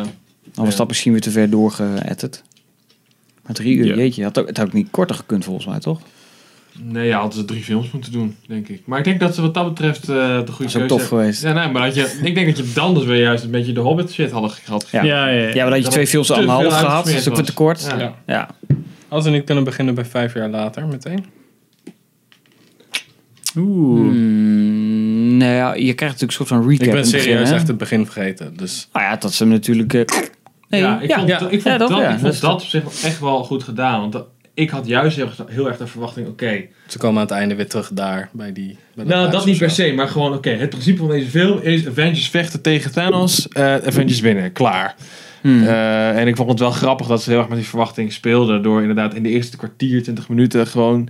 Speaker 1: Dan was
Speaker 3: Ja.
Speaker 1: dat misschien weer te ver doorgeëtterd. Maar drie uur,
Speaker 2: Ja.
Speaker 1: jeetje, had ook, het had ook niet korter gekund volgens mij, toch?
Speaker 3: Nee, ja, hadden ze drie films moeten doen, denk ik. Maar ik denk dat ze wat dat betreft eh, de
Speaker 1: Dat
Speaker 3: goede
Speaker 1: is ook
Speaker 3: keuze
Speaker 1: tof
Speaker 3: hebben.
Speaker 1: geweest.
Speaker 3: Ja, nee, maar dat je, ik denk dat je dan dus weer juist een beetje de Hobbit shit hadden gehad.
Speaker 1: Ja.
Speaker 2: Ja, ja, ja.
Speaker 1: Ja, maar dat je
Speaker 3: Dat
Speaker 1: twee
Speaker 3: er
Speaker 1: films
Speaker 3: te
Speaker 1: anderhalf
Speaker 3: veel
Speaker 1: gehad, dat
Speaker 3: uitgesmeerd
Speaker 1: is ook weer te kort. Ja.
Speaker 3: Ja.
Speaker 4: ja. Als we niet kunnen beginnen bij vijf jaar later, meteen.
Speaker 2: Oeh.
Speaker 1: Mm, nou ja, je krijgt natuurlijk een soort van recap.
Speaker 4: Ik ben
Speaker 1: in het begin,
Speaker 4: serieus
Speaker 1: hè?
Speaker 4: echt het begin vergeten. Dus
Speaker 1: Nou ja, dat ze hem natuurlijk... eh, nee,
Speaker 3: ja, ik vond,
Speaker 4: Ja.
Speaker 3: ik vond
Speaker 1: Ja, dat
Speaker 3: dat,
Speaker 1: wel, ja.
Speaker 3: ik
Speaker 1: Dat is
Speaker 3: vond dat op zich wel echt wel goed gedaan. Want dat- ik had juist heel, erg- heel erg de verwachting, oké.
Speaker 4: ze komen aan het einde weer terug daar. Bij die, bij
Speaker 3: Nou,
Speaker 4: huis
Speaker 3: dat
Speaker 4: of
Speaker 3: niet
Speaker 4: zo.
Speaker 3: per se, maar gewoon oké. Het principe van deze film is Avengers vechten tegen Thanos, eh, Avengers winnen, klaar.
Speaker 1: Hmm.
Speaker 3: Eh, en ik vond het wel grappig dat ze heel erg met die verwachting speelden. Door inderdaad in de eerste kwartier, 20 minuten gewoon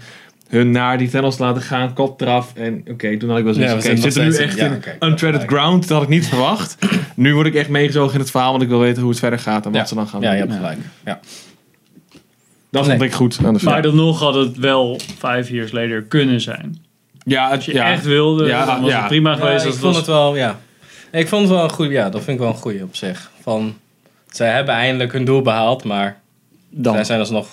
Speaker 3: hun naar die Thanos te laten gaan, kop eraf. En oké, toen had ik wel zoiets
Speaker 4: Ja,
Speaker 3: van,
Speaker 4: we
Speaker 3: oké,
Speaker 4: zijn nog
Speaker 3: zitten we nu
Speaker 4: steeds
Speaker 3: echt
Speaker 4: in- ja,
Speaker 3: in
Speaker 4: oké,
Speaker 3: uncredited
Speaker 4: ja.
Speaker 3: ground? Dat had ik niet verwacht. Nu word ik echt meegezogen in het verhaal, want ik wil weten hoe het verder gaat en wat
Speaker 4: Ja.
Speaker 3: ze dan gaan
Speaker 4: Ja,
Speaker 3: doen.
Speaker 4: je hebt gelijk. Ja.
Speaker 3: Dat
Speaker 4: Nee.
Speaker 3: vond ik goed aan de film.
Speaker 2: Maar dan nog had het wel vijf years later kunnen zijn.
Speaker 3: ja, het,
Speaker 2: Als je
Speaker 3: ja.
Speaker 2: echt wilde,
Speaker 3: Ja,
Speaker 2: dan was
Speaker 3: ja.
Speaker 2: het prima
Speaker 4: Ja,
Speaker 2: geweest.
Speaker 4: ik
Speaker 2: als
Speaker 4: vond
Speaker 2: was-
Speaker 4: het wel, ja. Ik vond het wel een goede, ja, dat vind ik wel een goede op zich. Van, zij hebben eindelijk hun doel behaald, maar
Speaker 1: Dan.
Speaker 4: zij zijn alsnog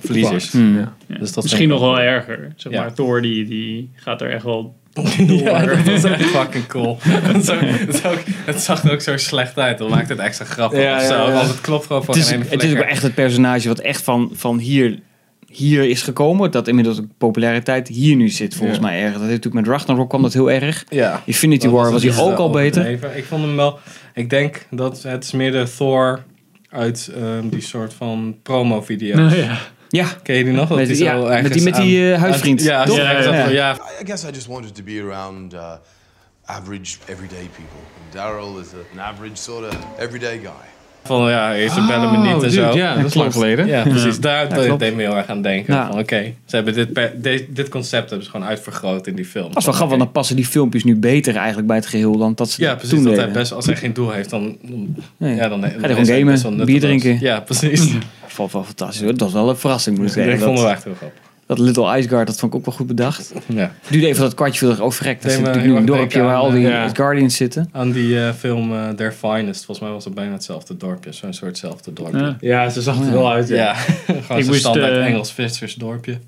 Speaker 4: verliezers.
Speaker 1: Hmm.
Speaker 3: Ja.
Speaker 2: Ja.
Speaker 4: Dus dat
Speaker 2: Misschien
Speaker 4: vind
Speaker 2: nog
Speaker 4: ik
Speaker 2: wel erger. Zeg
Speaker 4: Ja.
Speaker 2: maar, Thor die, die gaat er echt wel...
Speaker 4: Ja, dat was ook fucking cool. dat is ook, dat is ook- het zag er ook zo slecht uit. Dat maakt het extra grappig
Speaker 3: Ja,
Speaker 4: of zo.
Speaker 3: ja, ja.
Speaker 4: Want het klopt gewoon voor
Speaker 1: Het is,
Speaker 4: geen ene
Speaker 1: het is ook
Speaker 4: flikker.
Speaker 1: echt het personage wat echt van, van hier, hier is gekomen. Dat inmiddels ook populariteit hier nu zit, volgens
Speaker 3: Ja.
Speaker 1: mij erg. Dat heeft natuurlijk met Ragnarok kwam dat heel erg.
Speaker 4: Ja.
Speaker 1: Infinity
Speaker 4: Dat
Speaker 1: War was
Speaker 4: het
Speaker 1: hij ook
Speaker 4: wel
Speaker 1: al beter.
Speaker 4: overdreven. Ik vond hem wel... Ik denk dat het is meer de Thor uit ehm, die soort van promo-video's.
Speaker 2: Nou ja.
Speaker 1: Ja,
Speaker 4: Ken je die nog? Dat
Speaker 1: Met-
Speaker 4: die
Speaker 1: ja,
Speaker 4: zo ergens
Speaker 1: met die- met die,
Speaker 4: aan-
Speaker 1: eh, huisvriend,
Speaker 4: Ja,
Speaker 1: toch?
Speaker 4: ja,
Speaker 2: Ja,
Speaker 4: ja.
Speaker 1: ja.
Speaker 4: ja.
Speaker 7: I I guess I just wanted to be around uh, average, everyday people. And Daryl is a- an average sort of everyday guy.
Speaker 4: Van ja, eerst bellen me
Speaker 3: Oh,
Speaker 4: niet en
Speaker 3: dude,
Speaker 4: zo.
Speaker 3: Ja, dat is lang geleden.
Speaker 4: Ja, precies. Daar
Speaker 1: Ja, klopt.
Speaker 4: deed me heel erg aan denken.
Speaker 1: Ja.
Speaker 4: Van oké, ze hebben dit, per- de- dit concept hebben ze gewoon uitvergroot in die film.
Speaker 1: dat is wel grappig, want dan passen die filmpjes nu beter eigenlijk bij het geheel dan dat ze
Speaker 4: Ja, precies.
Speaker 1: toen
Speaker 4: Dat
Speaker 1: deden.
Speaker 4: hij best, als hij geen doel heeft, dan, dan-
Speaker 1: Nee.
Speaker 4: ja, dan, dan
Speaker 1: gewoon
Speaker 4: is hij
Speaker 1: gamen,
Speaker 4: best wel
Speaker 1: bier
Speaker 4: nutteloos.
Speaker 1: drinken.
Speaker 4: Ja, precies.
Speaker 1: Valt wel fantastisch hoor. Dat was wel een verrassing moet ik
Speaker 4: ik
Speaker 1: zeggen.
Speaker 4: vond
Speaker 1: Dat,
Speaker 4: hem echt heel grappig.
Speaker 1: dat Little Ice Guard, dat vond ik ook wel goed bedacht.
Speaker 4: Ja.
Speaker 1: duurde even dat kwartje veel overrekt. Dat
Speaker 4: Nee,
Speaker 1: zit
Speaker 4: maar
Speaker 1: natuurlijk nu
Speaker 4: heel
Speaker 1: een
Speaker 4: erg
Speaker 1: dorpje
Speaker 4: denken
Speaker 1: waar
Speaker 4: aan,
Speaker 1: al die
Speaker 3: eh, ja.
Speaker 1: Guardians zitten.
Speaker 4: Aan die eh, film eh, Their Finest, volgens mij was het bijna hetzelfde dorpje. Zo'n soortzelfde dorpje.
Speaker 2: Ja.
Speaker 4: Ja,
Speaker 3: Ja, ze zag er wel uit.
Speaker 4: gewoon
Speaker 2: Ik
Speaker 4: zo'n
Speaker 2: moest,
Speaker 4: standaard
Speaker 2: eh,
Speaker 4: Engels-Vissers dorpje.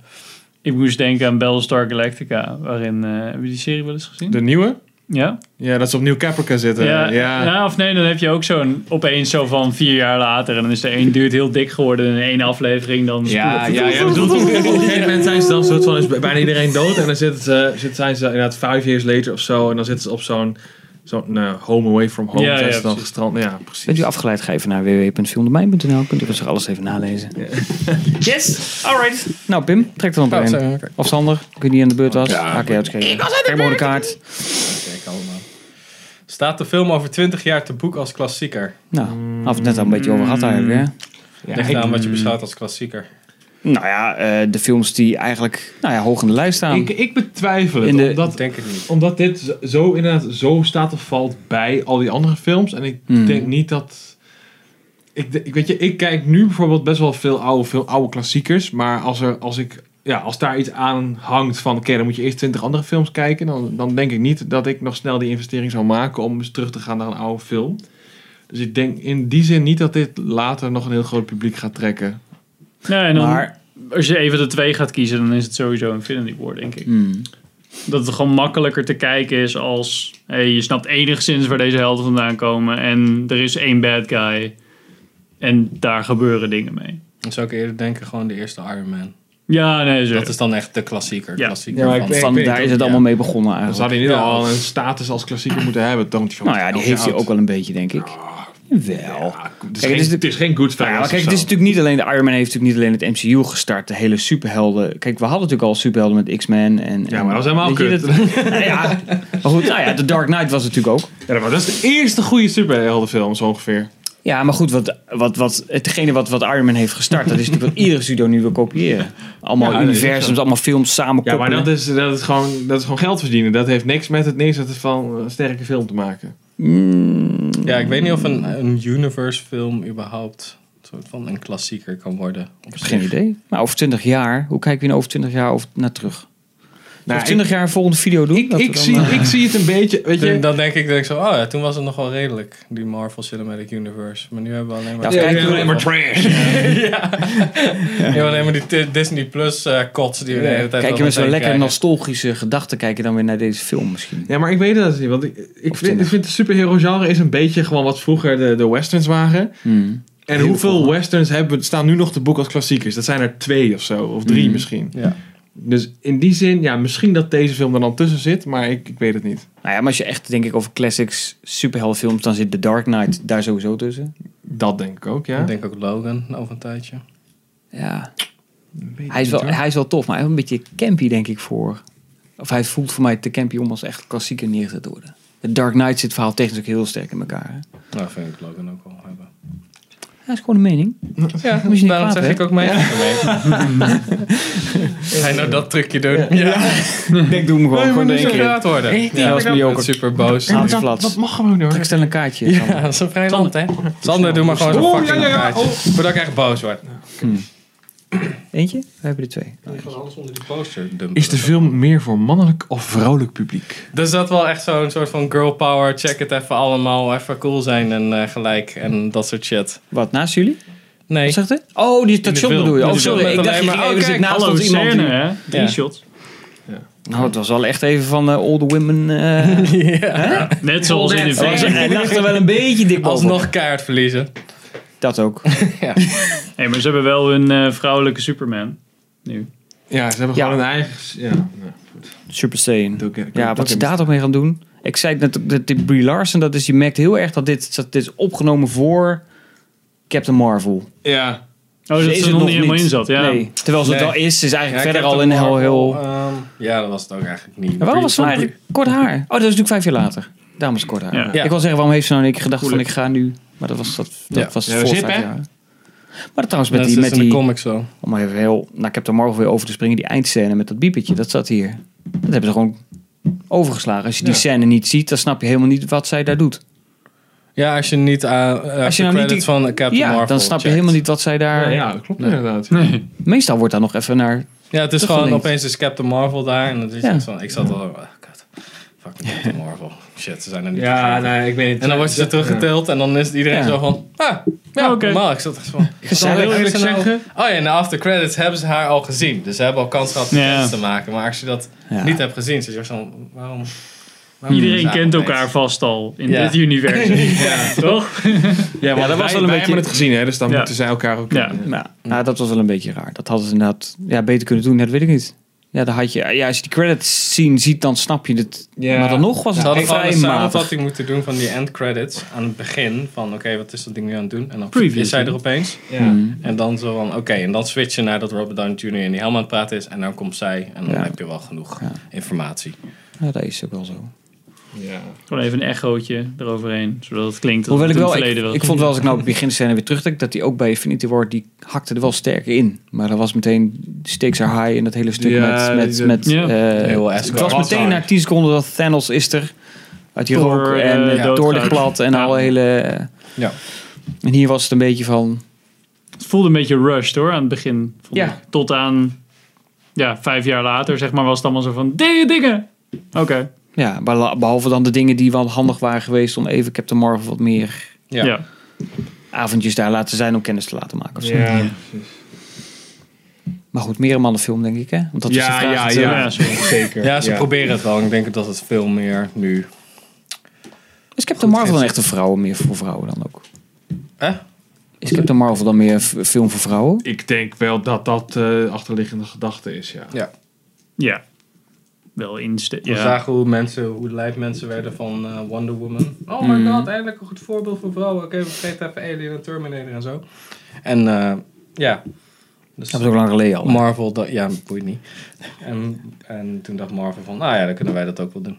Speaker 2: Ik moest denken aan Battlestar Galactica, waarin... eh heb je die serie wel eens gezien?
Speaker 3: De nieuwe?
Speaker 2: Ja?
Speaker 3: Ja, dat ze opnieuw Caprica zitten.
Speaker 2: Ja,
Speaker 3: ja.
Speaker 2: ja, of nee, dan heb je ook zo'n opeens zo van vier jaar later. En dan is de een duurt heel dik geworden in één aflevering. Dan
Speaker 3: Ja, ja, ja. bedoelt ook- Op een gegeven moment zijn ze dan soort van, is bijna iedereen dood. En dan zitten ze, zit, zijn ze inderdaad vijf years later of zo. En dan zitten ze op zo'n zo'n nou, home away from home.
Speaker 2: Ja,
Speaker 3: zijn
Speaker 2: ja,
Speaker 3: ze dan
Speaker 2: precies.
Speaker 3: gestrand. Ja, precies.
Speaker 1: Bent u afgeleid, ga even naar www.filmdomein.nl. Kunt u rustig alles even nalezen. yes, alright. Nou Pim, trek er dan
Speaker 4: Oh,
Speaker 1: doorheen.
Speaker 4: sorry, oké.
Speaker 1: Of Sander, ik weet niet aan de beurt was.
Speaker 4: Ja,
Speaker 1: Ja, Oké, uitschrijven. Ik was aan de kaart.
Speaker 4: Kijk allemaal. Staat de film over 20 jaar te boek als klassieker?
Speaker 1: Nou, af het net al een beetje over gehad eigenlijk. Hè?
Speaker 3: Ja, Mm.
Speaker 4: Ligt
Speaker 3: ik-
Speaker 4: aan wat je beschouwt als klassieker.
Speaker 1: Mm. Nou ja, eh, de films die eigenlijk nou ja, hoog in de lijst staan.
Speaker 3: ik, ik betwijfel het.
Speaker 1: In de-
Speaker 4: Ik
Speaker 3: omdat,
Speaker 4: denk het niet.
Speaker 3: omdat dit zo- zo inderdaad zo staat of valt bij al die andere films. En ik
Speaker 1: Hmm.
Speaker 3: denk niet dat... Ik, de- ik weet je, ik kijk nu bijvoorbeeld best wel veel oude, veel oude klassiekers. Maar als, er, als, ik, ja, als daar iets aan hangt van... Oké, dan moet je eerst twintig andere films kijken. Dan, dan denk ik niet dat ik nog snel die investering zou maken... om eens terug te gaan naar een oude film. Dus ik denk in die zin niet dat dit later nog een heel groot publiek gaat trekken.
Speaker 2: Nee, Nou, en dan,
Speaker 1: Maar-
Speaker 2: als je even de twee gaat kiezen, dan is het sowieso Infinity War, denk ik.
Speaker 1: Hmm.
Speaker 2: Dat het gewoon makkelijker te kijken is als... Hey, je snapt enigszins waar deze helden vandaan komen. En er is één bad guy. En daar gebeuren dingen mee.
Speaker 4: Dan zou ik eerder denken gewoon de eerste Iron Man.
Speaker 2: Ja, nee, zo.
Speaker 4: Dat is dan echt de klassieker.
Speaker 2: Ja.
Speaker 4: klassieker
Speaker 1: Ja, maar
Speaker 4: van-
Speaker 1: ik, van,
Speaker 3: ik-
Speaker 1: daar
Speaker 3: ik-
Speaker 1: is het
Speaker 4: ja.
Speaker 1: allemaal mee begonnen eigenlijk.
Speaker 3: Ze hadden in ieder geval al een status als klassieker moeten hebben. Dan moet je van
Speaker 1: Nou ja, die
Speaker 3: elf
Speaker 1: heeft hij
Speaker 3: jaar
Speaker 1: ook wel een beetje, denk ik. Wel.
Speaker 3: oud. Ja, het, is
Speaker 1: Kijk,
Speaker 3: geen,
Speaker 1: het is de-
Speaker 3: het is geen Goodfellas
Speaker 1: Nou Ja, maar kijk,
Speaker 3: of
Speaker 1: het is
Speaker 3: zo.
Speaker 1: natuurlijk niet alleen de Iron Man heeft natuurlijk niet alleen het MCU gestart, de hele superhelden. Kijk, we hadden natuurlijk al superhelden met X-Men en.
Speaker 3: Ja, maar dat was helemaal
Speaker 1: Weet je,
Speaker 3: kut.
Speaker 1: dat- Nou ja, maar goed, nou ja, The Dark Knight was het natuurlijk ook.
Speaker 3: Ja, maar dat is de eerste goede superheldenfilm, zo ongeveer.
Speaker 1: Ja, maar goed, wat, wat, wat, hetgene wat, wat Iron Man heeft gestart, dat is natuurlijk wat iedere studio nu wil kopiëren. Allemaal
Speaker 3: Ja, dat is
Speaker 1: universums,
Speaker 3: zo.
Speaker 1: allemaal films samen
Speaker 3: Ja, maar
Speaker 1: koppelen.
Speaker 3: dat is, dat, is gewoon, dat is gewoon geld verdienen. Dat heeft niks met het neerzetten van een sterke film te maken.
Speaker 1: Mm,
Speaker 4: Ja, ik weet niet of een, een universe film überhaupt een soort van een klassieker kan worden. Op zich.
Speaker 1: Geen idee. Maar over 20 jaar, hoe kijken we in over 20 jaar over, naar terug? Nou, over
Speaker 3: ik-
Speaker 1: 20 jaar een volgende video doen?
Speaker 3: Ik,
Speaker 1: Dat we
Speaker 3: ik,
Speaker 1: dan,
Speaker 3: zie,
Speaker 1: eh,
Speaker 3: ik zie het een beetje, weet je...
Speaker 4: Toen- dan denk ik, denk ik zo, oh ja, toen was het nog wel redelijk, die Marvel Cinematic Universe. Maar nu hebben we alleen maar,
Speaker 1: Ja, kijk,
Speaker 4: we
Speaker 1: alleen
Speaker 4: hebben
Speaker 1: maar
Speaker 3: trash.
Speaker 4: alleen maar die Ti- Disney Plus eh, kots die we de hele tijd
Speaker 1: Kijk je
Speaker 4: wel
Speaker 1: met zo'n
Speaker 4: meteen
Speaker 1: lekker
Speaker 4: krijgen.
Speaker 1: nostalgische gedachten kijken dan weer naar deze film misschien.
Speaker 3: Ja, maar ik weet dat niet. Want ik, ik, vind,
Speaker 1: twintig.
Speaker 3: ik vind het superhero genre is een beetje gewoon wat vroeger de, de westerns waren.
Speaker 1: Hmm.
Speaker 4: Hmm.
Speaker 3: En hoeveel westerns hebben, we- staan nu nog te boek als klassiekers? Dat zijn er twee of zo. Of drie misschien.
Speaker 4: Ja.
Speaker 3: Dus in die zin, ja, misschien dat deze film er dan tussen zit. Maar ik, ik weet het niet.
Speaker 1: Nou ja, maar als je echt denk ik over classics, superheldenfilms, dan zit The Dark Knight daar sowieso tussen.
Speaker 3: Dat denk ik ook, ja.
Speaker 4: Ik denk ook Logan over een tijdje. Nou,
Speaker 1: Ja. Hij is, wel, hij is wel tof, maar hij heeft een beetje campy denk ik voor. Of hij voelt voor mij te campy om als echt klassieker neergezet te worden. The Dark Knight zit verhaal technisch ook heel sterk in elkaar. Hè?
Speaker 4: Nou, vind ik Logan ook wel hebben.
Speaker 1: Ja, is gewoon een mening.
Speaker 4: Ja,
Speaker 1: Moet je niet
Speaker 4: daarom
Speaker 1: praten,
Speaker 4: zeg
Speaker 1: hè?
Speaker 4: ik ook mee. Ga je nou dat trucje doen? Ja,
Speaker 1: Ik doe hem gewoon, gewoon
Speaker 4: moet gepraat worden.
Speaker 1: Echt? Ja, dat is
Speaker 4: ik
Speaker 1: mediocre.
Speaker 4: ben super boos.
Speaker 1: Haat
Speaker 4: Ja,
Speaker 1: is flats.
Speaker 3: Dat mag gewoon hoor.
Speaker 1: Ik stel een kaartje. Sander.
Speaker 4: dat is een vrij land, hè? Sander, doe maar gewoon zo'n
Speaker 3: Oeh,
Speaker 4: fucking
Speaker 3: ja, ja, ja. Oh.
Speaker 4: kaartje. Voordat ik echt boos word.
Speaker 1: Eentje? We hebben er twee.
Speaker 3: Is de film meer voor mannelijk of vrouwelijk publiek?
Speaker 4: Dus dat wel echt zo'n soort van girl power. Check het even allemaal. Even cool zijn en eh, gelijk. En dat soort shit.
Speaker 1: Wat, naast jullie?
Speaker 4: Nee.
Speaker 1: Wat zegt hij? Oh, die
Speaker 4: de
Speaker 1: station
Speaker 4: film.
Speaker 1: bedoel je.
Speaker 4: In
Speaker 1: Oh,
Speaker 4: de film
Speaker 1: sorry.
Speaker 4: met
Speaker 1: Ik dacht,
Speaker 4: alleen
Speaker 1: je
Speaker 4: maar,
Speaker 1: ging even
Speaker 4: oh,
Speaker 1: zitten
Speaker 4: kijk,
Speaker 1: naast
Speaker 2: Hallo,
Speaker 1: ons iemand.
Speaker 2: scène,
Speaker 1: die-
Speaker 2: hè? Drie
Speaker 4: Ja.
Speaker 2: shots.
Speaker 1: Nou, het was wel echt even van eh, all the women. eh
Speaker 2: Net zoals in de
Speaker 1: Hij
Speaker 2: film.
Speaker 1: hij lag er wel een beetje dik boven.
Speaker 4: Alsnog keihard verliezen.
Speaker 1: Dat ook.
Speaker 2: Hey, maar ze hebben wel een eh, vrouwelijke Superman. Nu.
Speaker 3: Ja, ze hebben
Speaker 1: Ja.
Speaker 3: gewoon een eigen... Ja, nou,
Speaker 1: Super Saiyan.
Speaker 3: dat ken ik ook.
Speaker 1: Ja,
Speaker 3: Dat
Speaker 1: wat ze
Speaker 3: ken ik.
Speaker 1: daar toch mee gaan doen. Ik zei het net, ook, dat dit Brie Larson, dat is, je merkt heel erg dat dit, dat dit is opgenomen voor Captain Marvel.
Speaker 3: Ja.
Speaker 2: Oh,
Speaker 1: Ze
Speaker 2: dat ze er nog niet helemaal in zat. Ja.
Speaker 1: Nee. Terwijl ze het
Speaker 4: Nee.
Speaker 1: al is, is eigenlijk
Speaker 4: Ja,
Speaker 1: verder
Speaker 4: Captain
Speaker 1: al in heel...
Speaker 4: Marvel,
Speaker 1: heel...
Speaker 4: ehm, ja, dat was het ook eigenlijk niet.
Speaker 1: En waarom was ze nou
Speaker 4: Brie-
Speaker 1: eigenlijk kort haar? Oh, dat is natuurlijk vijf jaar later. Daarom was het kort haar.
Speaker 2: Ja.
Speaker 4: Ja.
Speaker 1: Ik wil zeggen, waarom heeft ze nou een keer gedacht van
Speaker 2: Moeilijk.
Speaker 1: ik ga nu... Maar dat was, dat, dat
Speaker 4: Ja.
Speaker 1: was
Speaker 3: Ja,
Speaker 1: voor
Speaker 3: zip,
Speaker 1: vijf
Speaker 3: hè?
Speaker 1: jaar. Maar dat trouwens
Speaker 4: Dat
Speaker 1: met
Speaker 4: is
Speaker 1: die, met
Speaker 4: in de
Speaker 1: die
Speaker 4: comics zo.
Speaker 1: om maar even heel nou, naar Captain Marvel weer over te springen, die eindscène met dat biepertje, dat zat hier. Dat hebben ze gewoon overgeslagen. Als je die
Speaker 3: Ja.
Speaker 1: scène niet ziet, dan snap je helemaal niet wat zij daar doet.
Speaker 4: Ja, als je niet eh, aan
Speaker 1: Als
Speaker 4: als
Speaker 1: je
Speaker 4: je
Speaker 1: nou niet die-
Speaker 4: van Captain
Speaker 1: ja,
Speaker 4: Marvel
Speaker 1: dan snap je
Speaker 4: checkt.
Speaker 1: helemaal niet wat zij daar...
Speaker 3: Ja, ja, dat klopt inderdaad.
Speaker 1: Meestal wordt daar nog even naar...
Speaker 4: Ja, het is
Speaker 1: Dat
Speaker 4: gewoon
Speaker 1: verlinkt.
Speaker 4: opeens is Captain Marvel daar en dan is
Speaker 1: Ja.
Speaker 4: het van, ik zat al, oh, God, fucking Captain Marvel, shit, ze zijn er niet.
Speaker 3: Ja,
Speaker 4: vergeten.
Speaker 3: nee, ik weet niet.
Speaker 4: En dan wordt ze teruggeteld en dan is iedereen
Speaker 1: Ja.
Speaker 4: zo van, ah, ja,
Speaker 2: oké.
Speaker 4: normaal. Ik zat echt van,
Speaker 1: Gezellig.
Speaker 4: wat hebben ze
Speaker 3: Eerlijk zeggen-
Speaker 4: Oh ja, in de after credits hebben ze haar al gezien, dus ze hebben al kans gehad om
Speaker 2: Ja.
Speaker 4: kennis te maken. Maar als je dat
Speaker 1: Ja.
Speaker 4: niet hebt gezien, zit je echt van, waarom? waarom
Speaker 2: Iedereen
Speaker 4: zijn we
Speaker 2: kent
Speaker 4: opeens?
Speaker 2: elkaar vast al in
Speaker 4: Ja.
Speaker 2: dit universum. Toch?
Speaker 3: Ja, maar dat was wel een beetje... het gezien, hè? Dus dan
Speaker 2: Ja.
Speaker 3: moeten zij elkaar ook...
Speaker 2: Ja.
Speaker 1: Nou, nou, dat was wel een beetje raar. Dat hadden ze inderdaad ja, beter kunnen doen, dat weet ik niet. Ja, dan had je, ja, als je die credits zien ziet, dan snap je het.
Speaker 3: Ja.
Speaker 1: Maar dan nog was
Speaker 4: Ze
Speaker 1: het
Speaker 4: hadden gewoon
Speaker 1: vrij
Speaker 4: een
Speaker 1: matig.
Speaker 4: samenvatting moeten doen van die end credits aan het begin. Van oké, wat is dat ding nu aan het doen? En dan
Speaker 2: Preview.
Speaker 4: is zij er opeens.
Speaker 3: Ja.
Speaker 4: En dan zo van, oké, en dan switchen naar dat Robert Downey Jr. en die helemaal aan het praten is. En dan komt zij en dan
Speaker 1: Ja.
Speaker 4: heb je wel genoeg informatie.
Speaker 1: Ja, dat is ook wel zo.
Speaker 3: Ja.
Speaker 2: Gewoon even een echootje eroverheen, zodat het klinkt alsof
Speaker 1: Hoewel
Speaker 2: het
Speaker 1: ik
Speaker 2: in het
Speaker 1: wel, ik,
Speaker 2: verleden was.
Speaker 1: ik vond wel als ik nou op het begin de scène weer terugdenk, dat die ook bij Infinity War, die hakte er wel sterk in. Maar dat was meteen, stakes are high in dat hele stuk
Speaker 3: Ja,
Speaker 1: met,
Speaker 3: die-
Speaker 1: met, met
Speaker 2: ja.
Speaker 1: eh,
Speaker 4: Heel
Speaker 1: het
Speaker 4: escort.
Speaker 1: was meteen na 10 seconden dat Thanos is er, uit die
Speaker 2: Door
Speaker 1: rook
Speaker 2: de
Speaker 1: en eh,
Speaker 2: doodgraaf.
Speaker 1: door de glad en
Speaker 2: Ja.
Speaker 1: alle hele... eh,
Speaker 4: Ja.
Speaker 1: En hier was het een beetje van,
Speaker 2: Het voelde een beetje rushed hoor, aan het begin. Vond
Speaker 1: Ja.
Speaker 2: ik. Tot aan ja, vijf jaar later, zeg maar, was het allemaal zo van, dingen, dingen. Oké.
Speaker 1: ja, bela- behalve dan de dingen die wel handig waren geweest om even Captain Marvel wat meer
Speaker 4: Ja.
Speaker 2: Ja.
Speaker 1: avondjes daar laten zijn om kennis te laten maken of zo.
Speaker 3: Ja.
Speaker 1: Maar goed, meer een mannenfilm denk ik hè? Want dat is de
Speaker 3: Ja,
Speaker 1: vraag.
Speaker 3: ja,
Speaker 1: dat, eh,
Speaker 2: ja,
Speaker 3: ja.
Speaker 2: sorry.
Speaker 3: Zeker.
Speaker 4: Ja, ze proberen het wel. Ik denk dat het veel meer nu...
Speaker 1: Is Captain Marvel dan echt een vrouw, meer voor vrouwen dan ook?
Speaker 4: Hè?
Speaker 1: Is Captain Marvel dan meer een film voor vrouwen?
Speaker 3: Ik denk wel dat dat eh, achterliggende gedachte is, ja.
Speaker 4: Ja.
Speaker 2: Ja. Wel insteken.
Speaker 4: We
Speaker 2: Ja.
Speaker 4: zagen hoe, mensen, hoe lijp mensen werden van eh, Wonder Woman. Oh my god, eindelijk een goed voorbeeld voor vrouwen. Oké, we vergeten even Alien en Terminator en zo. En eh, ja. Dus
Speaker 1: Dat was ook lang geleden al.
Speaker 4: Marvel, dat, ja, boeit niet. En, en toen dacht Marvel van, nou ja, dan kunnen wij dat ook wel doen.